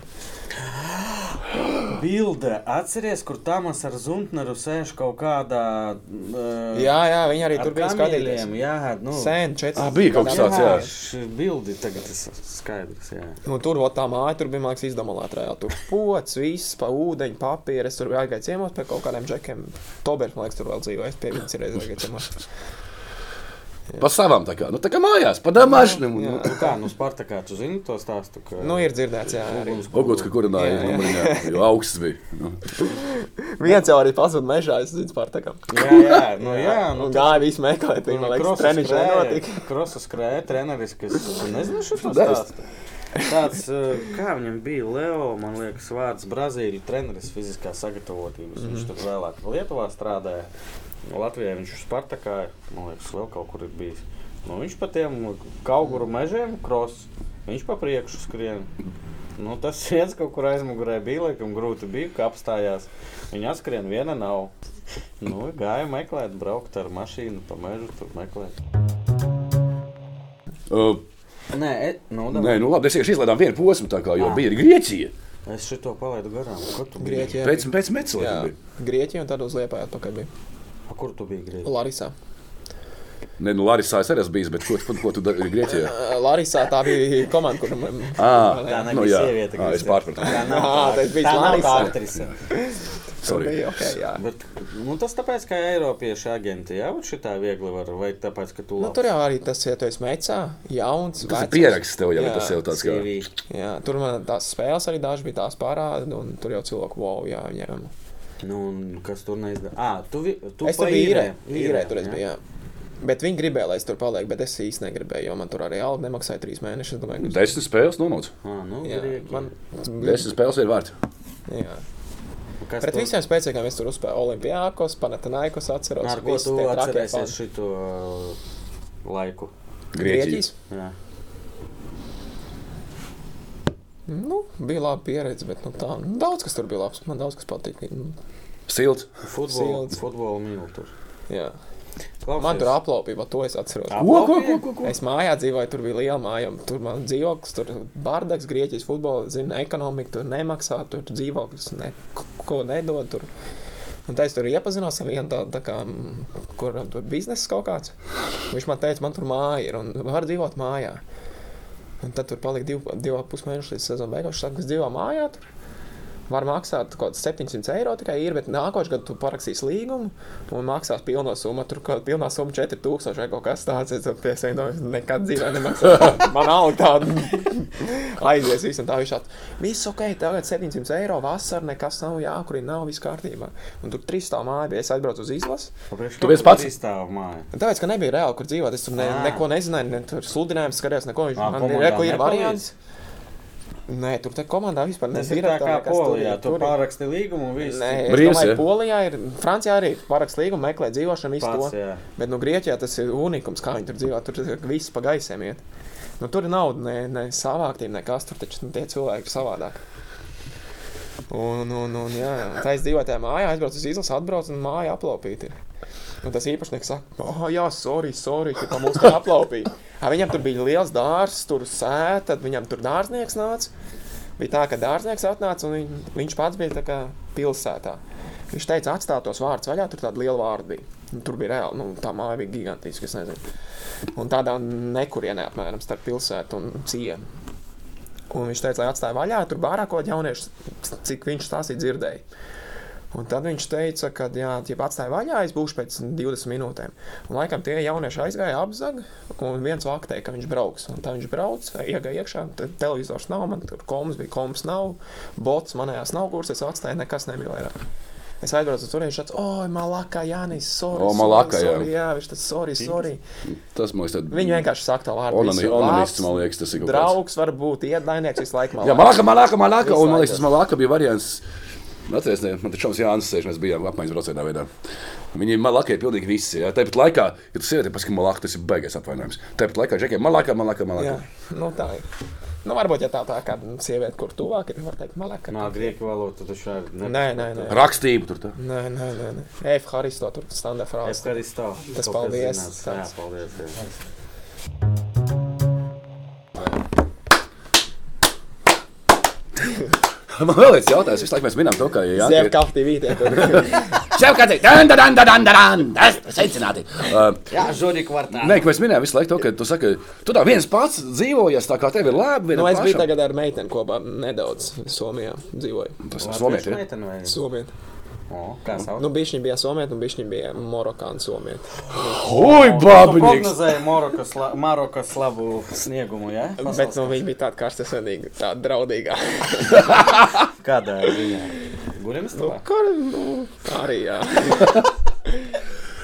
Bilde, atceries, kur Tamas ar Zuntneru sēž kaut kādā. Uh, Jā, jā, viņi arī ar tur bija skatījušies. kamieļiem, Jā, nu. Sen, četri. Ā, Ah, bija kaut kas tāds, jā. Šī bildi tagad ir skaidrs. Jā. Nu, tur bija tā māja, tur bija mākslinieks izdomāta reāli. Tur bija pocis, viss, pa ūdeņu, papīra. Es tur biju aizgājis ciemos pie kaut kādiem džekiem. Tobers, man liekas, tur vēl dzīvoja. Es pie viņas reizes aizgāju ciemos. Pa savām tā kā, nu tā kā mājās, pa damažņam. Jā. Nu, kā, nu, Spartakā, tu zini to stāstu? Ka... Nu, ir dzirdēts, jā. Arī. Oguns, ka kurināja, Jā, jā. numuriņā, jo augsts bija. Nu. Viens jau arī pazuda mežā, es zinu, par tā kā. jā, jā, nu, jā, nu, Un gāja visu meklēt, viņa man liekas, treniņš nenotika. Krosas krēja treneris, kas nezinu šo Nē, es- stāstu. Tāds, uh, kā viņam bija Leo, man liekas, vārds Brazīļu treneris fiziskā sagatavotības. Mm. Viņš tur vēlāk Lietuvā strādāja. Latvijā viņš ir Spartakā, man liekas, vēl kaut kur ir bijis. Nu, viņš pa tiem kauguru mežiem kros, viņš pa priekšu skrien. Nu, tas [laughs] viens kaut kur aizmugurē bija, laikam grūti bija, ka apstājās. Viņa atskrien, viena nav. Nu, gāja meklēt, braukt ar mašīnu pa mežu, tur meklēt. Uh, Nē, e, nu, Nē, nē. nu labi, es vienkārši izlaidām vienu posmu, tā kā, jo Ah. bija arī Grieķija. es šo palaidu garām. Kur tu biji? Grieķijā. Pēc, pēc Jā, Mecoļa. Grieķijā un tad uz Liepāju atpakaļ bija. Pa Kur tu biji? Grieķijā? Larisā. Nē, nu Larisā es arī esmu bijis, bet ko, ko, ko tu dari Grieķijā? Ā, Larisā Eh, tā bija komanda, kur man Tā À, nav nu, bijusi jā, sieviete, Ā, es Kristian. pārpratu. Tā nav [laughs] Ā, tā- tas bija tā nav tā Larisa. aktrise. Sorry. bija. Okay, jā. Bet, nu, tas tāpēc, ka Eiropiešu agenti jau šitā viegli var, vai tāpēc, ka tu Nu, tur jau arī tas, ja tu esi meitā, jauns. Tas ir vecs. pieraksts tev jau, Jā, tas jau tāds kā. CV. Jā, tur man tās spēles arī dažas bija tās parādi, un tur jau cilvēku wow, jā, viņiem. Nu, un kas tur neizdevās? Ah, tu, vi- tu Es pa tur biju īrē, Īrē, īrē tur es jā? biju. Jā. Bet viņi gribēja, lai es tur palieku, bet es īsti negribēju, jo man tur arī alga nemaksāja trīs mēnešus. es Domāju, ka... Desmit spēles nomauc. Ah, nu, Jā, Grieķija. man, Desmit spēles ir vērts. jā. Kas Pret tu- visiem spēcīgiem es tur uzspēju Olimpijākos, Panathinaikos, atceros. Ar ko visus tu tie trakie atcerēsies fani. šito uh, laiku? Grieķijas. Grieķijas? Jā. Nu, bija laba pieredze, bet nu, tā, nu, daudz kas tur bija labs. Man daudz kas patika. Nu, Silts. Futbolu, Silts. futbolu mīlu tur. jā. Klausies. Man tur aplaupīja, to es atceros. Tā Ko, ko, ko, ko? ko? Es mājā dzīvoju, tur bija liela māja. un Tur bija dzīvoklis, tur bija bardaks, grieķis, futbols, zina, ekonomika. Tur nemaksā, tur dzīvoklis, ne, ko nedod. Tur. Un tā es tur iepazinos ar vienu tādu, tā kā, mm, kuram tur bija biznesa kaut kāds. Viņš man teica, man tur māja ir un var dzīvot mājā. Un tad tur palika divi, divi ap pus mēneši līdz sezonas beigām. Viņš saka, ka dzīvo mājā. Tur. Var maksāt kaut kāds 700 eiro tikai ir, bet nākošais gads tu parakstīsi līgumu un maksās pilno summu. Tur kaut kāda pilnā summa 4000 vai kaut kas tāds. Es piesaistīju, nekad dzīvē [laughs] nemaksāju. Man nav tāda [laughs] aizies visam tā visam. Viss ok, tagad 700 eiro vasarā, nekas nav jākurina, nav viss kārtībā. Un tur trīs stāv māja, bija es aizbraucu uz izlasi. Priekš Tu kā viens pats? izstāv māju. Tāpēc, ka nebija reāli, kur dzīvot. Es tur ne, Ā. neko nezināju, ne tur sludinājumu skatījos, neko. Viņš Ā, man Ah. komandā bija reko, ir nepalīdz? variants. Nē, tur te komandā vispār Tas ir nezina. tā kā Polijā. Tu pāraksti līgumu un viss. Nē, Brīvs, Brīvs, domāju, ja? Polijā ir. Francijā arī parakst līgumu, meklē dzīvošanu, visu Pats, to. jā. Bet, nu, Grieķijā tas ir unikums, kā viņi tur dzīvo. Tur tas viss pa gaisiem iet. Nu, tur ir nauda, ne, ne savāktība, nekas. Tur taču nu, tie cilvēki ir savādāk. Un, un, un jā, jā. tā es dzīvoju tajā mājā, aizbraucu uz izlasi, atbraucu un māju aplaupīti. Un tas īpašnieks saka, oh, jā, sorry, sorry, ka tā mums tā aplaupīja. Ā, Viņam tur bija liels dārzs, tur sēta, tad viņam tur dārznieks nāca. Bija tā, ka dārznieks atnāca un viņ, viņš pats bija tā kā pilsētā. Viņš teica, atstāt tos vārdus vaļā, tur tāda liela vārda bija. Un Tur bija reāli, nu, tā māja bija gigantiska, es nezinu. Un tādā nekurienē apmēram starp pilsētu un ciemu. Un viņš teica, lai atstāja vaļā, tur vairāk ko jauniešu, cik viņš tās ir dzirdējis. Un tad viņš teica, ka, jā, ja atstāja vaļā, es būšu pēc 20 minūtēm. Un laikam tie jaunieši aizgāja apzaga, un viens vaktēja, ka viņš brauks. Un tā viņš brauc, iegāja iekšā, tad televizors nav, man tur koms bija, koms nav, bots manējās nav kurs, es atstāju, nekas nebija vairāk. Es aizbraucu tur, viņš teica, oi, malakā, Jānis, sorry. O, sorry, malakā, jā. sorry, jā. Viņš teica, sorry, sorry. Tas man liekas, tad. Viņi vienkārši saka tā vārdu. Onani- visu, Onanists, labs, man liekas, tas ir kaut kāds. Draugs var būt ienaidnieks visu laiku. Jā, malāka, malāka, malāka. Un man liekas, Visu tas malāka bija variants. Atcerieties, ne, man te šoms Jānis sēž, mēs bijām apmaiņas braucienā veidā. Viņi malākai pilnīgi visi. Jā. Tāpat laikā, ja tu sievieti pasaki malāka, tas ir baigais atvainojums. Tāpat laikā žekiem malāka, malāka, malāka. Jā, nu tā ir. Nu, varbūt, ja tā tā kā sieviete, kur tuvāk ir, var teikt, malaka. Nā, grieķu valoda taču ir. Nē, nē, nē. Rakstību tur tā. Nē, nē, nē. nē. F. Haris to tur standā Es frāzi. arī stāvu. Tas Kaut kas paldies, zināts. Jā, tāds. paldies. Jā. [laughs] Man vēl viens jautājums. Visu laiku mēs minam to, ka ja Jānis ir Zemkafti [laughs] vītē. Zemkāds. Dan, dan, dan, dan, dan, dan. Tas sveicināti. Uh, Jā, žurī kvartālā. Nē, ka mēs minējām visu laiku to, ka tu saki, tu tā viens pats dzīvojies, tā kā tev ir labi. Nu, vienam es biju pašam. tagad ar meiteni kopā nedaudz Somijā dzīvoju. Tas ir Somijā. ir. Somiet. Kā sauc? Nu, bišķiņi bija somiet, un bišķiņi bija morokāni somiet. Ui, babnieks! Prognozēja Marokas, la, Marokas labu sniegumu, ja? Bet nu, viņi bija tādi karstasenīgi, tādi draudīgi. Kādā ziņā? Gurimis Nu, tā? kā nu, arī jā.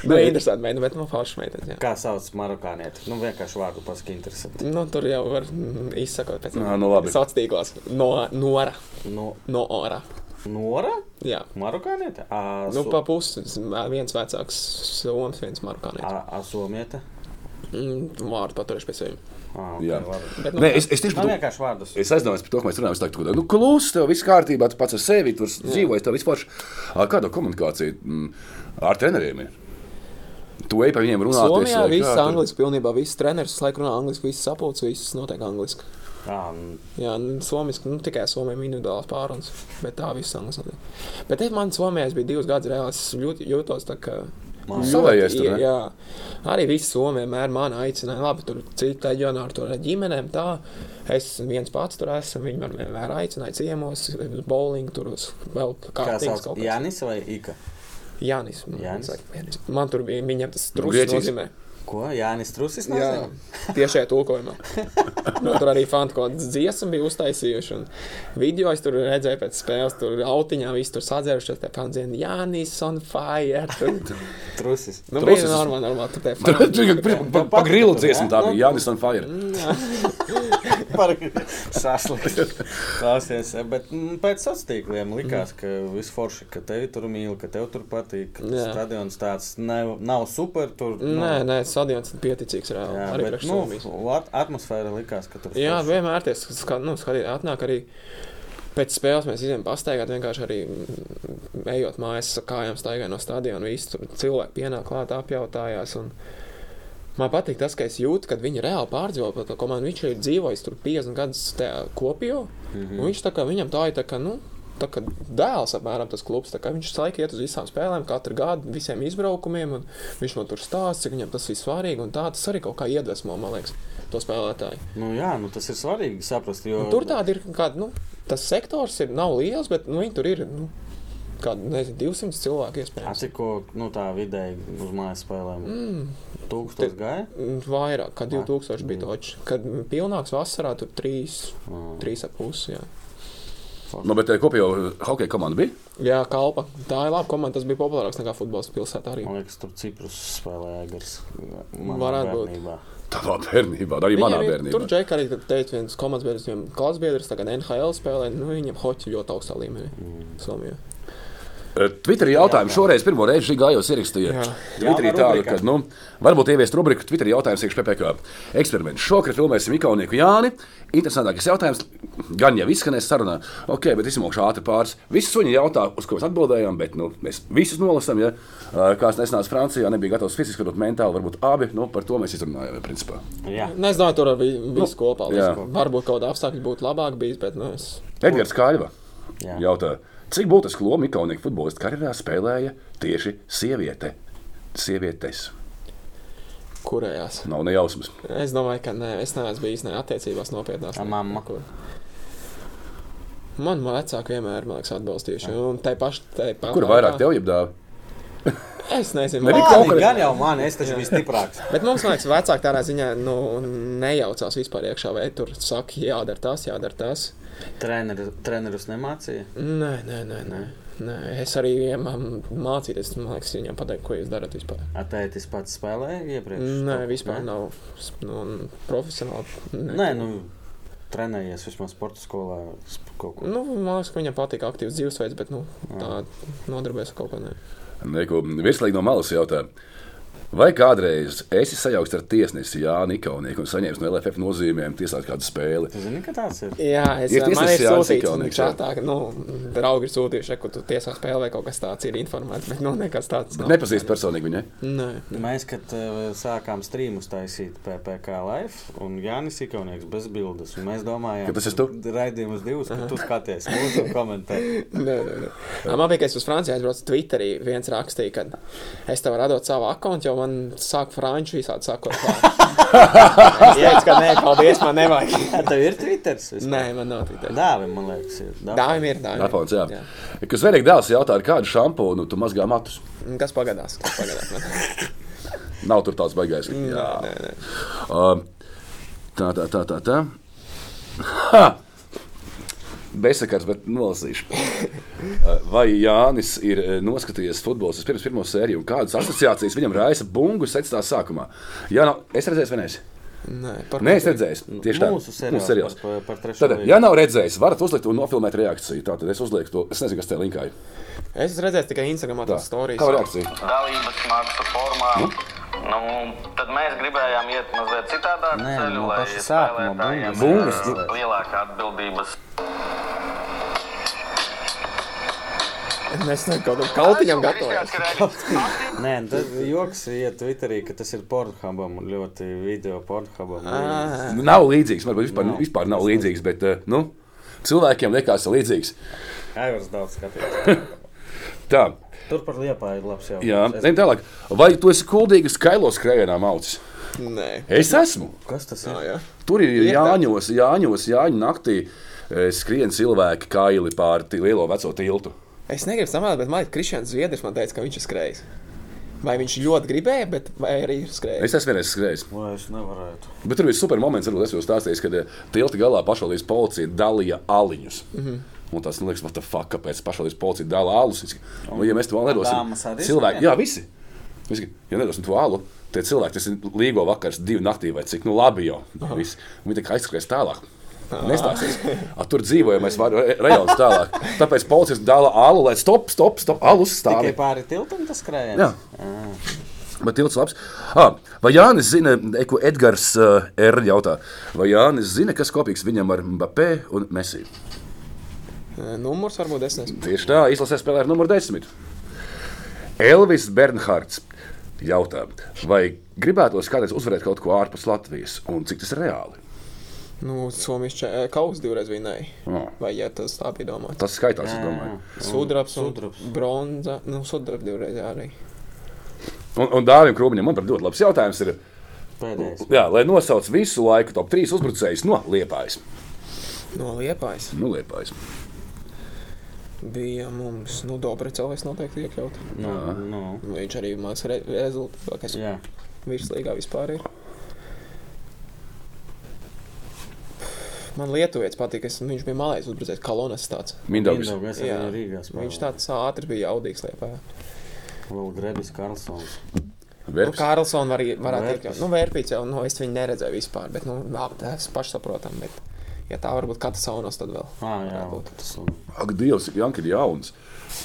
Nu, interesanti, meitene, bet man forši meitene. jā. Kā sauc marokānieti? Nu, vienkārši vārdu pasaki interesanti. Nu, tur jau var mm, izsakot pēc Nā, nu labi. Sauc tīklās. No, nora. No, No ora. Nu, Nora? Jā. Marokāniete? Ā, Nu, su- pa pusi viens vecāks somas, viens marokānis. Mm, ā, ā, Suomiete? Vārdu paturēšu pie sevis. Ā, ok, Jā. labi. Bet, nu, Nē, es, es tieši Man par to. vienkārši vārdus. Es aizdomājos par to, ka mēs runājam, tā, ka, nu, klusi, tev viss kārtībā, tu pats ar sevi tur dzīvojies, tev vispār kāda komunikācija mm, ar treneriem ir. Tu ej pa viņiem runāt. Somijā viss [laughs] angļuiski, pilnībā viss treneris visu laiku runā angļuiski, viss sapulcs, viss notiek angļuiski. Ā, nu, Jā, nu, somiski, nu, tikai somiem individuāls pārunas, bet tā viss angļuiski notiek. Bet es man somijā es biju divus gadus reāli, es ļoti jūtos tā kā. ļoti Savējies tur, ie- ne? Jā, arī viss Somijā vienmēr mani aicināja. Labi, tur cita reģionā ar to ar ģimenēm. Tā. Es viens pats tur esmu. Viņi man vienmēr aicināja ciemos, uz bowling, tur uz vēl Kā kādas sauc? Janis vai Ika? Jānis. man Jānis? saka, Jānis. Man tur bija viņam tas Nu, Grieķis. trūcis nozīmē. Ko? Jānis Trusis? Jā, nezinu? tiešai tulkojumā. Nu, tur arī fani kaut kādas dziesmas bija uztaisījuši. un Video es tur redzēju pēc spēles, tur autiņā viss tur sadzērušies. Tā fani zina, Jānis on fire. [laughs] Tur, [laughs] Trusis. nu, Trusis. bija normāli, normāli. Tur tie fani. [laughs] Pa grilu dziesmu tā bija Jānis un Fire. Mm. par saslikt. Klausies, bet mm, pēc sastāvdaļām likās, ka viss forši, ka tevi tur mīl, ka tev tur patīk. ka tas Jā. Stadions tāds nav, nav super. Tur, nu, Nē, nē, stadions ir pieticīgs reāli. Jā, arī bet, priekš nu, Somijas. at- atmosfēra likās, ka tur Jā, forši. vienmēr tie skat, nu, skatīt, atnāk arī pēc spēles. Mēs izējām pastaigāt, vienkārši arī mm, ejot mājās, ar kājām staigājot no stadiona. Visi tur cilvēki pienāk klāt, apjautājās. Un... Man patīk tas, ka es jūtu, ka viņi reāli pārdzīvo par to komandu. Viņš ir dzīvojis tur 50 gadus tajā kopijā. Mm -hmm. Viņš tā kā viņam tā ir tā kā. Nu, Tā kā dēls apmēram tas klubs, tā kā viņš laikam iet uz visām spēlēm, katru gadu, visiem izbraukumiem, un viņš man tur stāsta, cik viņam tas ir svarīgi, un tā tas arī kaut kā iedvesmo, man liekas, to spēlētāju. Nu, jā, nu, tas ir svarīgi saprast. Jo... Un Nu, Tur tāda ir kāda, nu, tas sektors ir, nav liels, bet nu, viņi tur ir nu, kādi nezinu, 200 cilvēki. iespējams. Atciko, nu, tā vidēji uz mājas spēlēm. Mm. Tūkstoši gāja. Mm, Vairāk, kā 2000 bija toķis. Kad pilnāks vasarā tur 3, 3,5. Jā. Nu, bet eh, kopējo hokeja komanda bija? jā, kalpa. Tā ir laba komanda. Tas bija populārāks nekā futbols pilsētā arī. Man liekas, tur Ciprus spēlēja gars. Varētu būt. Tavā bērnībā, arī manā Viņiem ir- Tur bērnībā. Džeka arī kad teica, viens komandas biedrs, viņam klasbiedrs, tagad NHL spēlē, nu viņam hoci ļoti augstā līmenī. Mm. Somijā. Eh, Twitterī jautājumu šoreiz pirmo reizi šī gājos ierakstīja. Jā. Twitterī Jauna tādu, rubrika. ka, nu, varbūt ieviest rubriku Twitterī jautājums iekš PPK. Eksperiments. Šokar filmēsim ikaunieku Jāni. Interesantākais jautājums, gan jau izskanēs sarunā, ok, bet izsmokšu ātri pāris. Visi suņi jautā, uz ko mēs atbildējām, bet, nu, mēs visus nolasam, ja Eh, kāds nesanāca Francijā, nebija gatavs fiziski, varbūt mentāli, varbūt abi, nu, par to mēs izrunājām, ja, principā. Jā, Nu, es domāju, tur arī viss kopā. jā. Visu. kopā. Varbūt kaut kāda apstākļa būtu labāk bijis, bet nu, es Edgars Kāļva Jā. jautā, cik būtisku lomu Mikaunieku futbolistu karjerā spēlēja tieši sieviete? Sievietes kurējās. nav nejausmas. Es domāju, ka nē, es neesmu bijis ne attiecībās nopietnās. Ar ne- mammu? nekur. Man vecāki vienmēr man liekas, atbalstījuši. Un tai pašai pāri. Kur vairāk tev jādara? Es nezinu, Nebija man- kaut Mani, kas- gan jau man, es taču biju [laughs] stiprāks. Bet mums, man liekas, vecāki tādā ziņā nu, nejaucās vispār iekšā, vai tur saka, jādara tas, jādara tas. Treneru, trenerus nemācīja. Nē, nē, nē. nē. Nē, es arī viņam mācījos, man liekas, viņam pateikt, ko jūs darat vispār. Atētis pats spēlēja iepriekš. Nē, Kaut- vispār Nē? nav nu, profesionāli. Nē, nu, trenējies vismaz sporta skolā. sp- Kaut ko. Nu, man liekas, ka viņam patīk aktīvs dzīvesveids, bet nu, tā nodarbojas ar kaut ko ne. Neko virslīgi no malas jautā. Vai kādreiz esi sajaukts ar tiesnesi Jānu Ikaunieku un saņēmis no LFF nozīmēm tiesāt kādu spēli? Tu zini, ka tāds ir. Jā, es Ir domāju, ka man tiesnesis ir Jānis sūtīts Ikaunieks, čatā, ka, nu, draugi ir sūtījuši, ka tu tiesā spēlē vai kaut kas tāds ir informēts, bet, nu, nekas tāds nav. Nepazīst personīgi viņai. Nē. Mēs, kad uh, sākām strīmus taisīt PPC live, un Jānis Ikaunieks bez bildes, un mēs domājām, Ka tas esi tu? Raidījums divus, ka tu skaties, lūdzu, komentē. [laughs] Nē, nē, nē. Ā, Man bija, ka es uz Franciju aizbraucu Twitterī. viens rakstīja, ka es tev radot savu akontu, jo man sāk franču visādi sakot. vārdi. es teicu, ka nē, paldies, man nevajag. Jā, tev ir Twitters? vispār? Nē, man nav Twitter. Dāvim, man liekas, ir. Dāvim. Dāvim ir, dāvim. Apons, jā. Jā. Kas vienīgi dēls jautā, ar kādu šampūnu tu mazgā matus? Kas pagadās? Kas pagadās man. Nav tur tāds baigais. Jā. Nē, nē. Um, Tā, tā, tā, tā. tā. Ha! Bezsakars, bet nolasīšu. [laughs] Uh, Vai Jānis ir uh, noskatījies futbolu pirms pirmā sērijas, un kādas asociācijas viņam raisa bungu secībā sākumā? Jā, nav, es redzēju, vai nē, Nē, par nē, es redzēju, tieši tā. Mūsu seriāls par- par trešo Tad, līgu. ja nav redzējis, varat uzlikt un nofilmēt reakciju. Tā tad es uzlieku to. Es nezinu, kas te linkā ir. Es esmu redzējis tikai Instagramā Tā. tās stāstus. Kā reakcija? dalības maksu formā. Nu, tad mēs gribējām iet mazliet citādāk Nē, ceļu, no lai paša sākuma spēlētājiem bungas. ir Bungas. lielāka atbildības. Mēs tam kaut kādam kaltiņam gatavojamies. Nē, nu tad joks ir Twitterī, ka tas ir pornhubam, ļoti video pornhubam. Ā. Nu, Nav līdzīgs, varbūt vispār, Nav. vispār nav līdzīgs, bet uh, nu, cilvēkiem liekas, ka līdzīgs. Aivars daudz skatījās. Tā. Tur par liepā ir labs jautājums. Jā, Es- ejam tālāk. Vai tu esi kuldīgs kailos skrējienā maucis? Nē, Es esmu. Kas tas ir? tā jā. Tur ir Ir tā. jāņos, jāņos, jāņu naktī. eh, Skrien cilvēki kaili pāri tī- lielo veco tiltu. Es negribu samēlēt, bet man ir Kristians Zviedris, man teica, ka viņš ir skrējis. Vai viņš ļoti gribēja, bet vai arī ir skrējis? Es esmu vienreiz skrējis. Vai es nevarētu? Bet tur bija super moments, kad es jau stāstīju, kad eh, tilta galā pašvaldības policija dalīja aliņus. Mm Mhm. -hmm. Un tas, nu, liekas, what the fuck, kāpēc pašvaldības policija dala alus? Es- Nu, ja mēs to vēl nedosim, dāmas arī cilvēki, saņem? jā, visi. Visi, Ja nedosim to alu, tie cilvēki, tas ir līgo vakars, divi naktī vai cik, nu labi jau. Visi. Un Viņi tā kā aizskrēs tālāk. Nestāsies. A, tur dzīvojamais var- re- rajonus tālāk. Tāpēc policija dala alu, lai stop, stop, stop, alu Tikai stāv. pāri tiltam tas skrējiens. Jā. Bet tilts labs. Ah, vai Jānis zina, ko Edgars uh, R. jautā? Vai Jānis zina, kas kopīgs viņam ar Mbappé un Messi? Nē, Numurs varbūt es nezinu. Tieši tā, izlasē spēlē ar numuru 10. Elvis Bernhards jautā, vai gribētos kādreiz uzvarēt kaut ko ārpus Latvijas un cik tas ir reāli? Nu, Somijas ča- kaus divreiz vinēja. Oh. Vai ja tas tā bija domāts? Tas skaitās, es domāju. Sudrabs, sudrabs. sudrabs. bronza, nu, sudrabs divreiz arī. Un, un Dārim Krūmiņam, man par ļoti labs jautājums ir, Pēdējais. jā, lai nosauc visu laiku top 3 uzbrucējus no Liepājas. No Liepājas Nu, Liepājas. bija mums, nu, Dobricēlis noteikti iekļaut. Nu, nu. Viņš arī māks re rezultātu, kas Jā. virslīgā vispār ir. Man lietuvietis patīk, es, viņš bija malējis uzbrucējs, kolonas tāds. Mindaugs. Mindaugas arī Jā. Rīgā spēlē. Viņš tāds ātri bija jaudīgs liepā. Vēl Grebis Karlsons. Nu, Verps. Kārlsons arī varētu Vērpis. teikt, ka nu, vērpīts jau, nu, es viņu neredzēju vispār, bet, nu, labi, tas pašsaprotam, bet, ja tā varbūt katasonos, tad vēl. Ah, jā, varētu būt. tas Ak, Dievs, cik Janka ir jauns.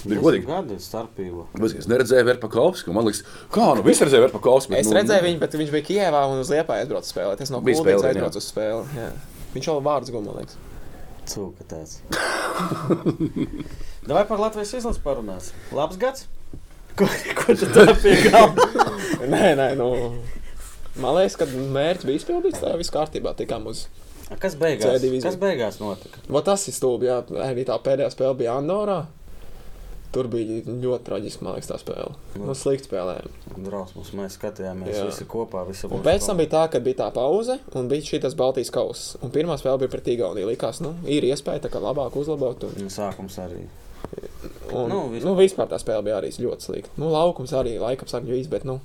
Viņš ir godīgi. gada starpība. Bez, es neredzēju Verpakovsku. Man liekas, kā nu viss redzēja Verpakovsku. Es redzēju viņu, bet viņš bija Kijevā un uz Liepā aizbraucis spēlēt. Es no nu, Bija Kuldīgas spēlē, jā. aizbraucu uz spēli. Jā. Viņš jau vārds gumā, liekas. Cūka tāds. Davai par Latvijas izlases parunās. Labs gads! Ko, ko tu tā pieņēmi? Nē, nē, nu. Man liekas, ka mērķis bija izpildīts, tā viss kārtībā. Tikām uz. Kas beigās? divīzija. Kas beigās notika? Va, tas ir stūbi, jā. Arī tā pēdējā spēle bija Andorā. Tur bija ļoti traģiski, man liekas, tā spēle. Nu, slikti spēlējām. Drausmas mēs skatījāmies Jā. visi kopā. Visi Un pēc tam bija tā, ka bija tā pauze, un bija šis Baltijas kausa. Un pirmā spēle bija pret Igauniju. Likās, nu, ir iespēja tā kā labāk uzlabot. Un, Sākums arī. un, nu, Nu, vispār. vispār. nu, vispār tā spēle bija arī ļoti slikta. Nu, laukums arī laikapsakļu viss, bet, nu,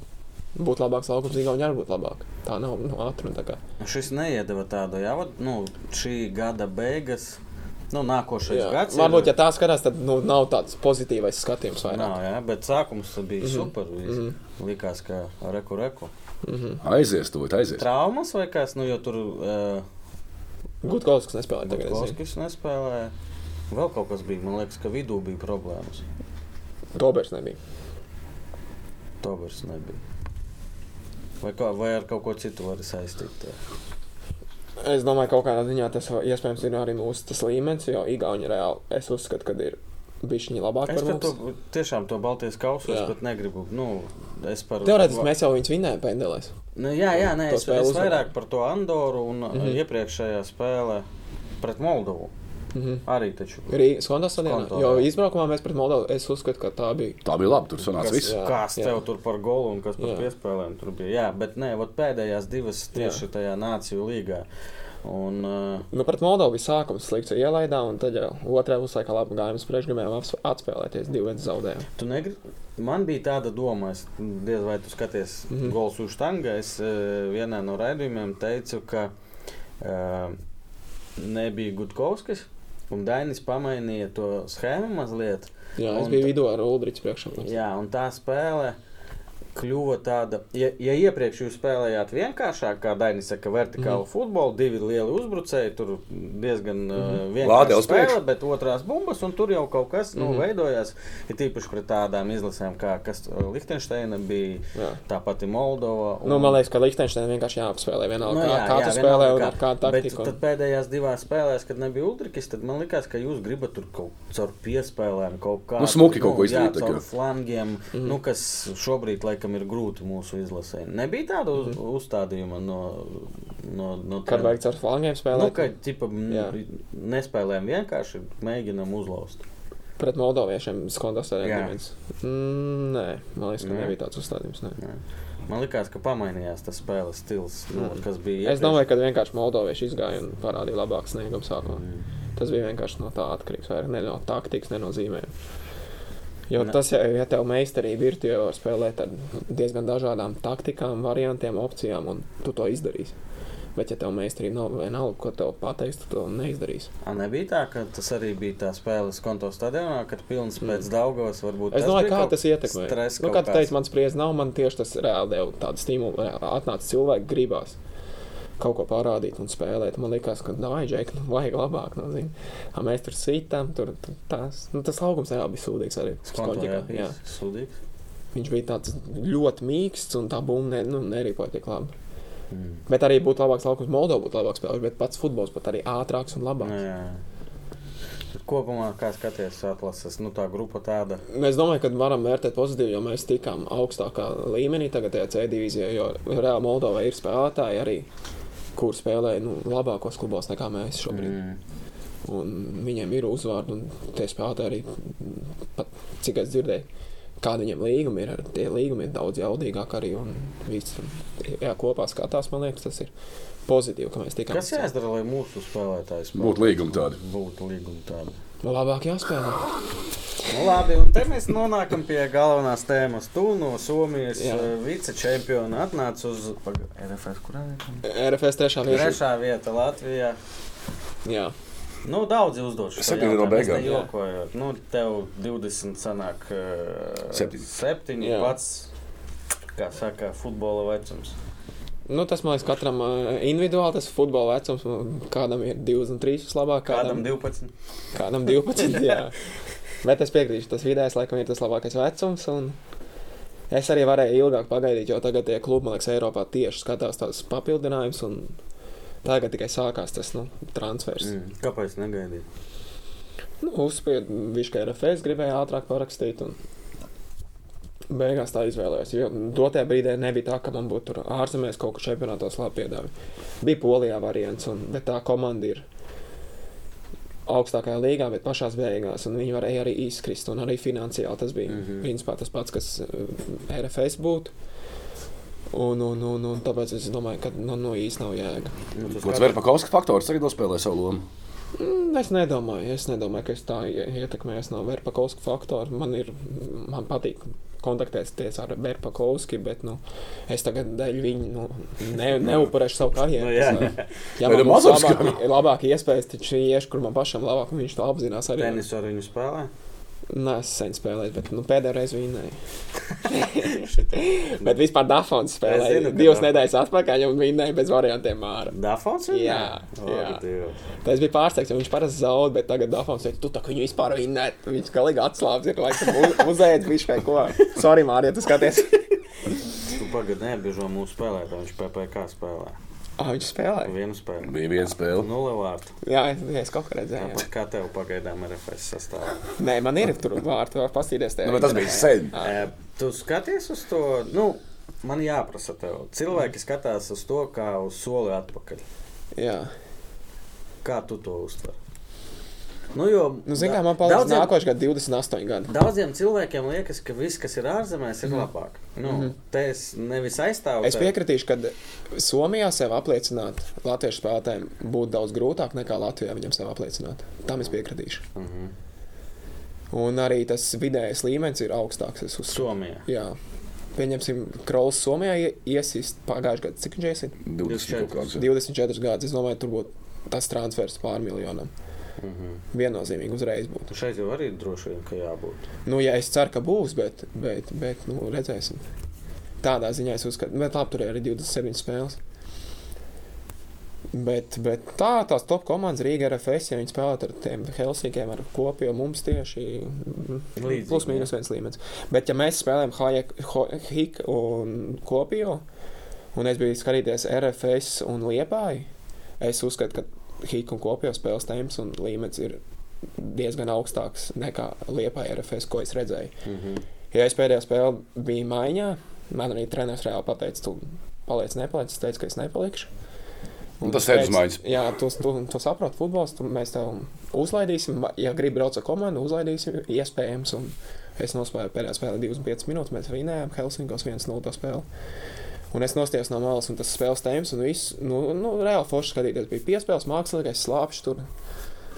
būtu labāks laukums Igaunijā, varbūt labāk. Tā nav nu, ātruma tā kā. Šis neiedeva tādu jau nu, šī gada beigas, nu, nākošais Jā, gads. varbūt, ja tā skatās, tad nu, nav tāds pozitīvais skatījums vairāk. Mhm. Nav, jā, bet sākums bija mm -hmm. super. Mm -hmm. Likās, ka reku, reku. mhm. Aizies to, aizies. Traumas vai kas? Nu, jo tur uh, Gudkovskis nespēlēja tagad. es Latvijas nespēlēja. Vēl kaut kas bija. Man liekas, ka vidū bija problēmas. zinu. Dobers nebija. Tobers nebija. Vai, kā, vai ar kaut ko citu var saistīt? Es domāju, ka kaut kādā ziņā tas var- iespējams ir arī mūsu tas līmenis, jo Igauni reāli es uzskatu, ka ir bijuši viņi labāki Es par par mums. to tiešām to Baltijas kausu es Jā. pat negribu. Nu, es par, Teorētiski mēs jau viņus vinējām pēdējais. Nu, jā, jā, nē, To es, spēli Mhm. es uzvarēt. vairāk par to Andoru un mm -hmm. iepriekšējā spēlē pret Moldovu. Mm -hmm. Arī taču. Mhm. Arī Skotas stadionā. Skontā, Jo jā. izbraukumā mēs pret Moldovu, es uzskatu, ka tā bija. Tā bija labi. Tur sanāca Kas- viss. jā. Kas tev tur par golu un kas par Jā. piespēlēm tur bija? Jā, bet nē, vot pēdējās divas tieši jā. tajā nāciju līgā. Un, uh, Nu, pret Moldovu bija sākums slikts, jo ielaidā, un tad jau otrajā puslaikā labi gājām uz priekšu, gribējām aps- atspēlēties, divi viens zaudējām. Tu negri... Man bija tāda doma, es nu, diez vai tu skaties mm Mhm. -hmm. Golsu štangā. Es uh, vienā no raidījumiem teicu, ka uh, nebija Gutkovskis un Dainis pamainīja to schēmu mazliet. Jā, es Un biju tā- vidū ar Ulriča priekšā. Jā, un tā spēle kļuva tāda, ja, ja iepriekš jūs spēlējāt vienkāršāk, kā Dainis saka, vertikālu mm. Mhm. futbolu, divi lieli uzbrucēji, tur diezgan mm. Lādē vienkārši uz spēle, priekšu. bet otrās bumbas, un tur jau kaut kas nu, Mhm. mm. veidojās, ir tīpaši pret tādām izlasēm, kā kas uh, Lichtensteina bija, Jā. tā pati Moldova. Un, Nu, man liekas, ka Liechtensteinam vienkārši jāapspēlē vienalga, Nu, no, jā, jā, kā, kā jā, tu spēlē vienalga un kā. ar kādu taktiku. Bet tad pēdējās divās spēlēs, kad nebija Ulrikas, tad man liekas, ka jūs gribat tur kaut caur piespēlēm, kaut kā Nu, smuki kaut ko Jā, izdarīt, tā caur kā. flangiem, Mhm. mm. nu, kas šobrīd laikam ir grūti mūsu izlasē. Nebija tāda uz, mm. uzstādījuma no, no, no Mhm. Kad vajag caur flangiem spēlēt, Nu, ka tipa, m, Jā. nespēlējam vienkārši, mēģinam uzlauzt. pret moldoviešiem skontos arī Jā. neviens. Mm, nē, man liekas, ka Nē. nebija tāds uzstādījums. Nē. Jā. Man liekas, ka pamainījās tas spēles stils, nu, kas bija. Mhm. Es domāju, ka vienkārši moldovieši izgāja un parādīja labāku sniegumu sākumā. Mm. Tas bija vienkārši no tā atkarīgs, vairāk ne no taktikas, ne no zīmēm. Jo Ne. ne. tas, ja, ja tev meistarība ir, tu jau vari spēlēt ar diezgan dažādām taktikām, variantiem, opcijām, un tu to izdarīsi. Bet, ja tev meistarība nav vienalga, ko tev pateiks, tu to neizdarīsi. A, nebija tā, ka tas arī bija tā spēles konto stadionā, kad pilns pēc Daugavas varbūt. Mm. Es domāju, kā tas ietekmē. Stress, Nu, kā tu teici, man spriedzes nav, man tieši tas reāli deva tādu stimulu. reāli Atnāca cilvēki, gribās kaut ko parādīt un spēlēt. Man liekas, ka tā vajag, nu, vajag labāk. Nu, zini. A, mēs tur sītām, tur tur tās. Nu, tas laukums reāli bija sūdīgs arī. Skoņģikā, jā. skonto sūdīgs. Viņš bija tāds ļoti mīksts un tā bumba ne, nu, nerīpoja tik labi. Mm. Bet arī būtu labāks laukums, Moldova būtu labāks spēlētājs, bet pats futbols pat arī ātrāks un labāks. Nu, jā. Bet Kopumā, kā skaties, atlases, nu tā grupa tāda. Es domāju, ka varam vērtēt pozitīvi, jo mēs tikām augstākā līmenī tagad tajā C divīzijā, jo reāli Moldovā ir spēlētāji arī, kur spēlē nu, labākos klubos nekā mēs šobrīd. Mm. Un viņiem ir uzvārdi, un tie spēlētāji arī, mm, pat, cik es dzirdēju, kāda viņiem līguma ir. Tie līgumi ir daudz jaudīgāki arī. Un viss jā, kopā skatās, man liekas, tas ir pozitīvi, ka mēs tikām. Kas jāizdara, lai mūsu spēlētājs spēlē? Būtu līguma tāda. Būtu līguma tāda. Labāk jāspēlē. Nu, labi, un te mēs nonākam pie galvenās tēmas. Tu no Somijas Jā. eh, vicečempiona atnāc uz paga- RFS, kurā vietā? RFS trešā vietā. Trešā vieta Latvijā. Jā. Nu, daudzi uzdošu. Septiņi no beigām. Jokojot, nu, tev 20 sanāk eh, Septiņi. septiņi Jā. pats, kā saka, futbola vecums. Nu, tas man liekas, katram ā, individuāli tas futbola vecums. un Kādam ir 23, vislabāk, Kādam kādam, 12? kādam 12. jā. Bet es piekrītu, tas vidējais laikam ir tas labākais vecums. un Es arī varēju ilgāk pagaidīt, jo tagad tie klubi, man liekas, Eiropā tieši skatās tās papildinājumus. un Tagad tikai sākās tas nu, transfers. Mm. Mm. Kāpēc negaidīt? Nu, Uzspiedu, viņš kā RFS gribēja ātrāk parakstīt. Un... Beigās tā izvēlējos. Jo dotajā brīdī nebija tā, ka man būtu tur ārzemēs kaut kur čempionātos labi piedāvājumi. Bija polijā variants, un, bet tā komanda ir augstākajā līgā, bet pašā beigās. un Viņi varēja arī izkrist, un arī finansiāli tas bija mm -hmm. principā tas pats, kas eh, RFS būtu. Un, un, un, un tāpēc es domāju, ka nu, nu, īstenībā nav jēga. Mm. Nu, tu Kāds Verpakovska faktors tagad nospēlē savu lomu? Mm, Es nedomāju, es nedomāju, ka es tā ie- ietekmējos no Verpakovska faktora. Man, ir, man patīk kontaktēties ar Verpakovski, bet nu, es tagad dēļ viņa nu, ne, neupurēšu savu karjeru. Nu, jā. [laughs] jā Vai man nu būs Mazovs labāk, labāk iespējas, taču iešu, kur man pašam labāk, un viņš to apzinās arī. Tenisu ar viņu spēlē. Nē, es sen spēlēju, bet nu, pēdējā reizē viņa ne. bet vispār Dafons Es zinu, spēlēja ka divas Dafons. nedēļas atpakaļ, un viņa ne bez variantiem māra. Dafons ir? Jā, jā. jā. Tā es biju pārsteigts, jo viņš parasti zaudē, bet tagad Dafons teica, tu tā kā viņu vispār vinnēt. Viņš galīgi atslābs, ir laikam uzēdis viņš vai ko. Sorry, Mārija, tu skaties. Pagaidiet, neapbiežo mūsu spēlētāju. Viņš PPC spēlē. Ah, viņš spēlēja. Vienu spēli. Bija viena spēle. Nulle vārtu. Jā, es, es kaut kā redzēju. Tāpat kā tev pagaidām ir FS sastāvā. jā. Nē, man ir tur vārti, var paskatīties. Nu, bet tas bija sen. E, Tu skaties uz to, nu, man jāprasa tev. Cilvēki skatās uz to, kā uz soli atpakaļ. Jā. Kā tu to uztver? Nu, jo, Nu, zin, kā da- man paliks daudziem- nākošais gads 28 gadi. Daudziem cilvēkiem liekas, ka viss, kas ir ārzemēs, ir labāk. Nu, mm -hmm. Te es nevis aizstāvu. Mhm. Es tevi. piekritīšu, ka Somijā sev apliecināt latviešu spēlētājiem būtu daudz grūtāk nekā Latvijā viņam sev apliecināt. Tam es piekritīšu. Mm Mhm. -hmm. Un arī tas vidējais līmenis ir augstāks. es uzskatu. Somijā. Jā. Pieņemsim, Krauls Somijā ie- iesist pagājušajā gadā. Cik viņš iesist? 20 kaut kāds. 24 gadus. Es domāju, tur būtu tas transfers pār miljonam. Viennozīmīgi uzreiz būtu. Nu, Mhm. Šeit jau arī droši vien, ka jābūt. Nu, jā, es ceru, ka būs, bet, bet, bet nu, redzēsim. Tādā ziņā es uzskatu, bet labi, tur ir arī 27 spēles. Bet, bet tā, tās top komandas Rīgā ar FS, ja viņi spēlētu ar tiem Helsinkiem, ar kopiju mums tieši mm, Līdzīgi, plus mīnus viens līmenis. Bet, ja mēs spēlējam Hajek- Ho- Hik un kopiju, un es biju skatīties RFS un Liepāju, es uzskatu, ka Hik un kopiju spēles temps un līmenis ir diezgan augstāks nekā Liepāja RFS, ko es redzēju. Mm Mhm. -hmm. Ja es pēdējā spēlē biju maiņā, man arī treneris reāli pateica, tu paliec, nepaliec. Es teicu, ka es nepalikšu. Un tas viņš sēdz uz teica, maiņas. Jā, tu, tu, tu saproti, futbols, tu, mēs tev uzlaidīsim. va- Ja gribi braukt ar komandu, uzlaidīsim, iespējams. Un es nospēju pēdējā spēlē 25 minūtes, mēs vinējām Helsinkos 1-0 to spēli. Un es nostājos no malas, un tas spēles tēmas, un viss, nu, nu reāli forši skatīties. Bija piespēles, mākslinieks, slāpšs tur.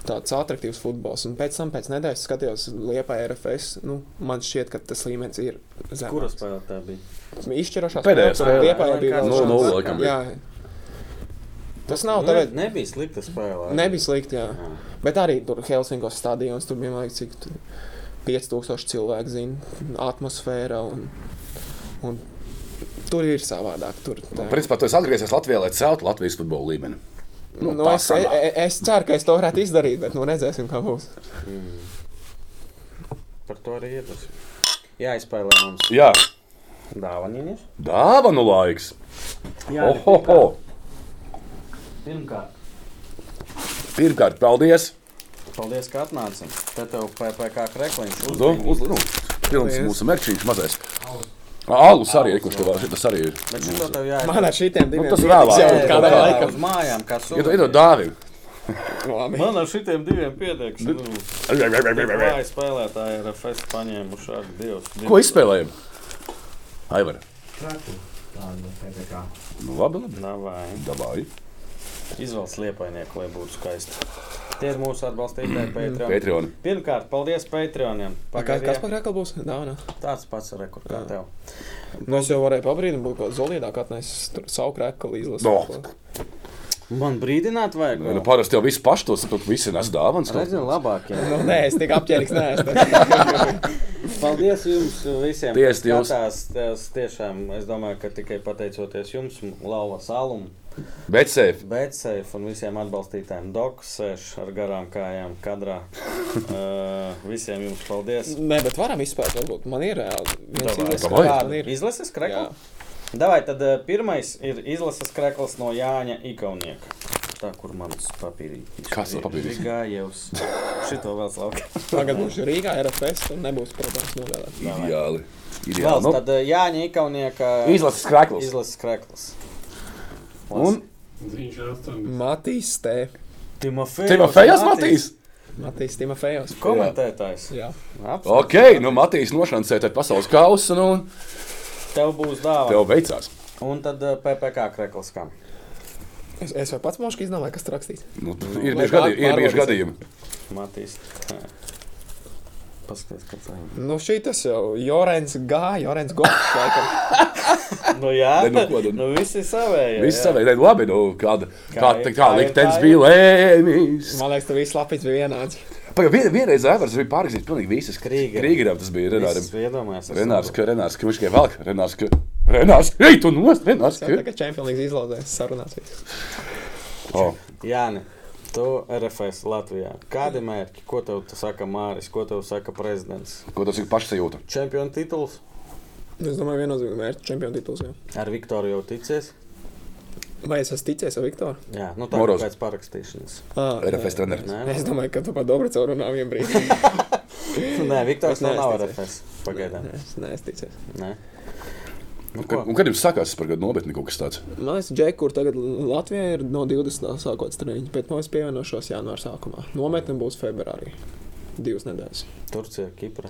Tāds attraktīvs futbols. Un pēc tam, pēc nedēļas, skatījos Lietuvā, RFS. Nu, man šķiet, ka tas līmenis ir zemāks. Kurā spēlē tā bija? Izšķirošā Pēdējā spēlē. Liepā jau bija Nu, vēl nu, šāds. laikam bija. Jā. Tas nav Ne, tāpēc. Nu, nebija slikta spēlē. Nebija slikti, jā. Jā. Bet arī tur Helsinkos stadions, tur bija, man liekas, cik tur 5000 cilvēku zina, atmosfēra un, un tur ir savādāk. Tur, tā. Principā tu esi atgriezies Latvijā, lai celtu Latvijas futbola līmeni. nu, tā es, sanāk. es, es ceru, ka es to varētu izdarīt, bet nu redzēsim, kā būs. Par to arī iet. Jā, izspēlē mums Jā, dāvanas. dāvanu laiks. Jā, Ohoho! pirmkārt. Pirmkārt, paldies! Paldies, ka atnāci. Te tev PPC krekliņš Uz, uz, nu, pilns mūsu mērķis mazais. Alus arī ir, kurš tev vēl šis arī ir. Bet šito tev jāiet. Man ar šitiem diviem Nu, tas pietiks vēlāk. jau [laughs] Jā, kādā jā, jā. laikā. uz mājām, kas Iedod iedod dāvinu. Labi. Man ar šitiem diviem pietiks. Vai spēlētāji ir FS paņēmuši ar divus? Ko izspēlējam? Aivar. Kraku. Tāda PPC. Nu, labi, labi. Nav vai. Dabāju. Izvēlas liepainieku, lai būtu skaisti. Tie ir mūsu [clears throat] atbalstītāji Patreon. Patreon. Pirmkārt, paldies Patreoniem. Kā- Kas par kreklu būs? Dāvana. Tāds pats rekords kā tev. Nu, es jau varēju pabrīdināt, būtu kaut kā zolīdāk atnesis tur savu kreklu izlasīt. No. Man brīdināt vajag. Nu, parasti jau viss paši tos, tu visi nes dāvanas. Redzi, labākie. Nu, nē, es tik apģērbs, nē, es tā. Paldies jums visiem. Tiesi jūs. Tās, tās tiešām, es domāju, ka tikai pateicoties jums, Lapa Salum, Bet seif. Betseif un visiem atbalstītājiem, Doks, sēž ar garām kājām [laughs] kadrā. uh, visiem jums paldies. Nē, bet varam izspēlēt, varbūt man ir reāli. Viens Davai. izlases Davai. kārta Kādu ir. izlases Jā. kreklu? Davai, tad eh, pirmais ir izlases krekls no Jāņa Ikaunieka. Tā, kur mans papīrītis. Kas ir papīrītis? Gājējus. [laughs] Šito vēl slauki. Tagad būs Rīgā, RFS, un nebūs problēmas novēlēt. Ideāli. Vēl Ideāli. Nu, tad eh, Jāņa Ikaunieka Izlases krāklis. izlases krekls. Un Viņš ir astoņdesmit. Matīs T. Timofejs. Timofejs Matīs. Matīs Timofejos. Komentētājs. Jā. Absolūti. Ok, nu Matīs nošancē te pasaules kausu, nu, Tev būs dāvana. tev veicās. Un tad eh, PPC krekls kam? Es, es jau pats mošu izdomāju, kas tur rakstīs. Nu, ir lai bieži gadījumi. Ir pār- bieži gadījumi. Matīs. Paskaties, kā tā ir. Nu, šī tas jau Jorens G. Jorens Gops, laikam. Nu jā, Nē, nu ko tad? nu visi savējie. Viss jā. savēdēji labi, nu, kāda, kā, ir, kā, kā kā ir, liktenis kā ir. bija lēmis. Man liekas, tas viss lapis bija vienāds. Pagaidām, vien, vienreiz Aivars bija pārrakstījis pilnīgi visas Krīgeram. Krīgeram tas bija Renāram. Visus iedomājies, es Renārs, ka Renārs, ka viņš tikai velk, Renārs, ka Renārs, ej, tu nost, Renārs, Jā, ka. tagad Champions League izlauzēs sarunās. viss. O, Jāni, tu RFS Latvijā. Kādi mērķi? Ko tev te saka Māris? Ko tev saka prezidents? ko tas ir pašsajūta? Čempionu tituls? Es domāju, viennozīmīgi mērķis čempionu tituls. Jā. Ar Viktoru jau ticies. Vai es esmu ticējis ar Viktoru? Jā, nu tā ir Moroz. pēc parakstīšanas. Ah, RFS treneris. Nē, Es domāju, ka tu par Dobricu runā vienā brīdī. Nē Viktors Es vēl nav neesmu RFS. Pagaidām. Nē, es neesmu ticējis. Nē. Nu, Kad, ko? un kad jums sākās par gadu nopietni kaut kas tāds? Man liekas, Džek, kur tagad Latvijā ir no 20. sākot treniņš, bet no es pievienošos janvāra sākumā. Nometne būs februārī. Divas nedēļas. Turcija, Kipra.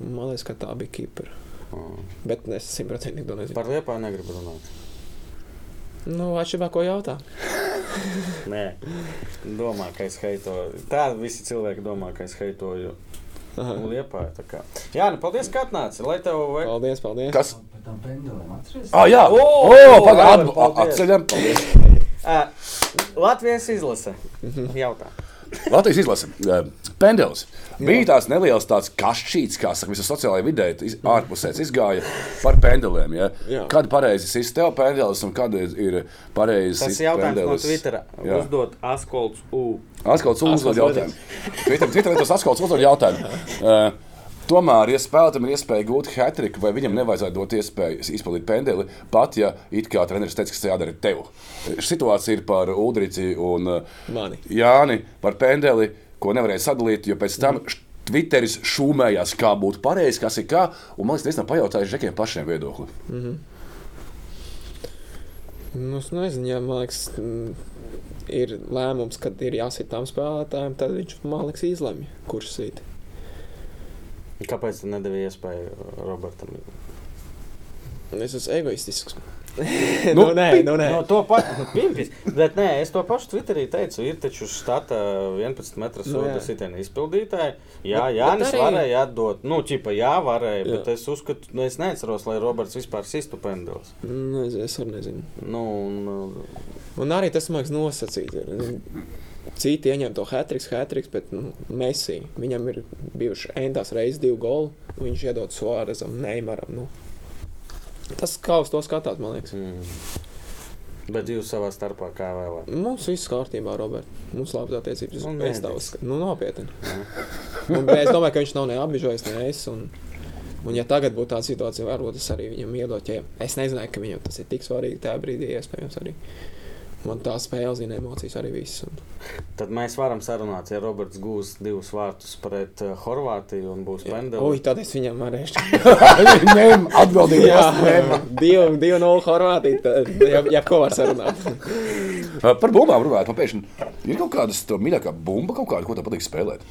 Man liekas, ka tā bija Kipra. Mm. Bet es simtprocentīgi to nezinu. Par Liepāju negribu runāt. Nu, atšķirībā, ko jautā? Nē, domā, ka es heitoju. Tā visi cilvēki domā, ka es heitoju Aha. Liepāju. Jā, nu paldies, ka atnāci. Lai tev veik... Paldies, paldies. Kas? Par tām pendulēm atceries? Ah, jā, O, oh, pagaidi, labi, paldies. atceļam. Ā, Latvijas izlase. Jautā. Latvijas izlase, eh, pendels. Bija tās nelielas tādas kašķītas, kā saka, visas sociālajā vidē, iz- ārpusē tas izgāja par pendeliem. Ja? Jā. Kad pareizi sist tev pendels un kad ir- ir pareizi Tas sist jautājums no pendelis? Twittera. Jā. Uzdot Askolds U. Atskalts uzdod jautājumu. Twitter, Twitterī tas atskalts uzdod jautājumu. [laughs] Eh, Tomēr, ja spēlētājam ir iespēja gūt hatriku, vai viņam nevajadzētu dot iespēju izpildīt pendeli, pat ja it kā treneris teica, ka tas jādara tev. Eh, Situācija ir par Udrici un eh, Mani. Jāni par pendeli, ko nevarēja sadalīt, jo pēc tam š- Twitteris šūmējās, kā būtu pareizi, kas ir kā, un man liekas, nesam pajautājuši žekiem pašiem [laughs] viedokli. Nu, es nezinu, ja man liekas, mm, ir lēmums, kad ir jāsit tam spēlētājiem, tad viņš, man liekas, izlemj, kurš sīt. Kāpēc tu nedēvi iespēju Robertam? Es esmu egoistisks. [laughs] Nu, nu, nē, nu, nē. No to pašu pimpis. Bet nē, es to pašu Twitterī teicu. Ir taču štata 11 metru Nu, jā. soda sitienu izpildītāji. Jā, Bet- Jānis bet arī... arī- varēja atdot. Nu, čipa, jā, varēja. Jā. Bet es uzskatu, nu, es neatceros, lai Roberts vispār sistu pendulus. Nu, es, es arī nezinu. Nu, un, Un arī tas mākslinieks nosacīts. ir. Citi ieņem to hatriks, hatriks, bet nu, Messi. Viņam ir bijuši endās reizes divi goli. un Viņš iedod Suārezam, Neimaram. Nu. Tas kā uz to skatās, man liekas. mm, bet jūs savā starpā kā vēlaties. Mums viss kārtībā, Roberts. Mums labas attiecības. Un Es mēdīs. tev uzskatu, nu, nopietni. Un, bet es domāju, ka viņš nav neapbežojis, ne es. Un, un, ja tagad būtu tāda situācija, varbūt es arī viņam iedotu. Ja es nezināju, ka viņam tas ir tik svarīgi tajā brīdī, iespējams, arī. Man tā spēle zina emocijas arī viss. Un, Tad mēs varam sarunāties, ja Roberts gūs divus vārtus pret uh, Horvātiju un būs Ui, pendulus. tad es viņam [laughs] varēšu. Nē, atbildīgi. Jā, Jā. [laughs] divi, divi no Horvātijas. tad Jā, jā, ko var sarunāt? Par bumbām runājot, papēšana. Ir kaut kāda tā mīļākā bumba, kaut kāda, ko tev patīk spēlēt.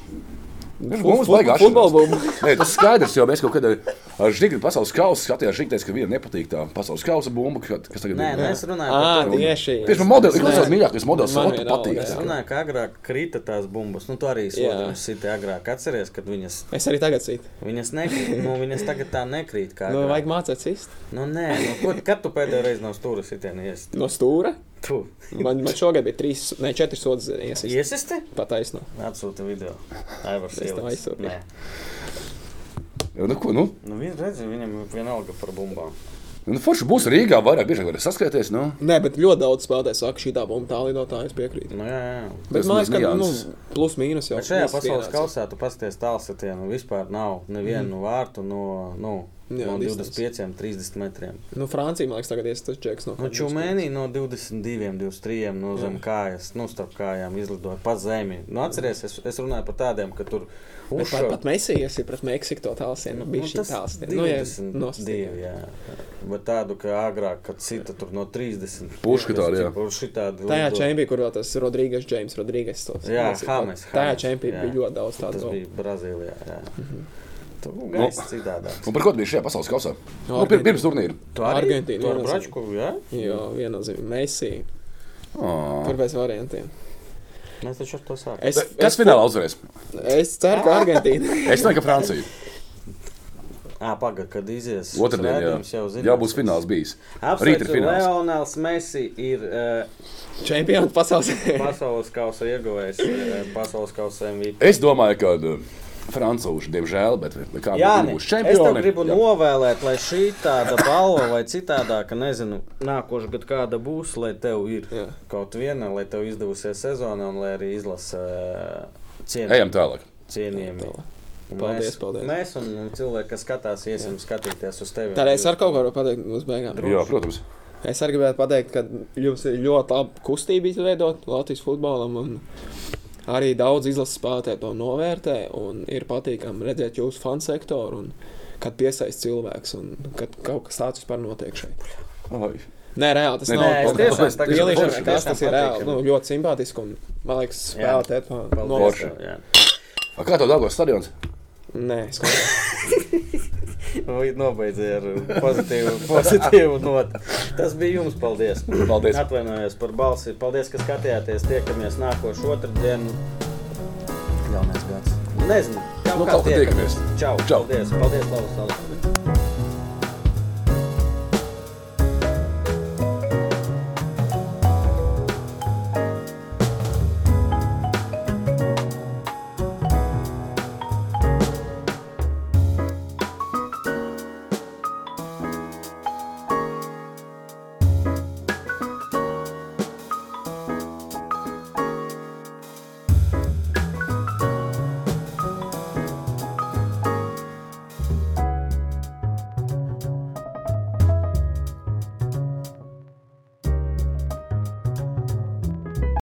Viņš Fut- mums fut- vajag futbola atšķirties. Nē, tas skaidrs, jo mēs kaut kad ar- ar Žigli pasaules kausu skatījāmies. Žigli teica, ka viņam nepatīk tā pasaules kausa bumba, ka- kas tagad Nē, nu ir. mēs runājam par Ā, to. tieši. Tieši man modelis, kas Nē. tas mīļākais modelis, ko Man tu vienalga, patīk. jā. Es tā kā. runāju, ka agrāk krita tās bumbas. Nu, tu arī Jā. slēdz siti agrāk. Atceries, kad viņas, Es arī tagad citu. viņas nekrīt. Nu, viņas tagad tā nekrīt. Kā Nu, agrāk. vajag mācīt cist. nu, nē, nu, ko, kad tu pēdējo reizi no stūra sitienu iesi? No stūra. Tu Man, man šogad bija trīs, ne četri sodas iesaistīts. iesisti? Pataisno. Atsūti video. Aivars Es tev ieliks. aizsūtīšu. Nē. Nu, ko, nu, Nu, viņš redz, viņam vienalga par bumbām. nu, forši būs Rīgā vairāk, biežāk varēs saskaities. Nu. Nē, bet ļoti daudz spēlētāju saka, šī tā bumba tā lidotāja, es piekrītu. Nu, jā, jā. Bet Tas man liekas, ka nu, nianses. plus mīnus jau Bet šajā viss pasaules vienāds. kausā tu pasties tālsitienu. Vispār nav nevienu mm. vārtu no, nu, Jā, no distance. 25, 30 metriem. Nu, Francija, man liekas, tagad ir tas čeks. No Nu, Čūmēnī no 22, 23 no Jā. zem kājas, nu, starp kājām izlidoja pa zemi. Nu, atceries, es, es runāju par tādiem, ka tur Pat, uzšauja. pat Mēsijas ir pret Meksiku to tālsienu. Nu, bija šī tālsiena. Nu, jā, nostipri. 22, jā. Bet tādu, ka agrāk, kad cita tur no 30. Pušku tādu, jā. Puši tādu. Tajā lido. čempionā, kur vēl tas Rodrīgas, Džeims Rodrīgas. tos Jā, nosīt. Hames. Tajā Hames, čempionā jā. bija ļoti daudz tādu. Tas bija Brazīlijā, jā. Mhm. nu, Tur bija gaisa citādāk. Un par ko tu biji šajā pasaules kausā? Nu, pir- pirms turnīra. Tu Argentīna Tu ar viennozīmīgi. Bračku, jā? Jo viennozīmīgi Messi. Ā. Tur bez variantiem. Mēs taču ar to sākām. Es, Kas es, finālā uzvarēs? es ceru, ka [laughs] Argentīna. Es domāju, ka Francija. Ā, pagaid, kad izies. Otradien jā. rādījums jau zinās. jā, būs fināls bijis. Rīt ir Apsveicu, fināls. Leonels Messi ir uh, Čempions pasaules. pasaules kausa ieguvējs, uh, pasaules kausa MVP. Es domāju, ka uh, Francūži, diemžēl, bet vai kā Jā, viņi nē, būs es tev čempioni. gribu Jā. jā. novēlēt, lai šī tāda balva vai citādāka, nezinu, nākošais gads kāda būs, lai tev ir jā. Jā. kaut viena, lai tev izdevusies sezona un lai arī izlasa uh, cien, Ejam tālāk. [laughs] cienījami. Paldies, mēs, paldies. Mēs un cilvēki, kas skatās, iesim skatīties uz tevi. Tad es ar kaut ko varu pateikt, mums beigās. Jā, protams. Es arī gribētu pateikt, ka jums ir ļoti laba kustība izveidot Latvijas futbolam. un Arī daudz izlases spēlētāji to novērtē, un ir patīkami redzēt jūsu fanu sektoru, un kad piesaistīs cilvēks, un kad kaut kas tāds vispār notiek šeit. Nē, reāli tas Nē, nav. nē, es tiešām Tāpēc tagad ielīšana forši, kastē, tas tiešām ir reāli patīkami. nu, ļoti simpātiski, un man liekas, Jā. spēlēt to Paldies, novērtē. tev, jā. Kā tev dabūs stadions? Nē, skaties. Vai Nobeidzīja ar pozitīvu, [laughs] pozitīvu notu. Tas bija jums, paldies. Paldies. Atvainojos par balsi. Paldies, ka skatījāties. Tiekamies nākošo otrdienu. Jaunais gads. Nezinu, kā Nu, kaut kad tiekamies. Čau. Čau. Paldies, paldies, Lavas.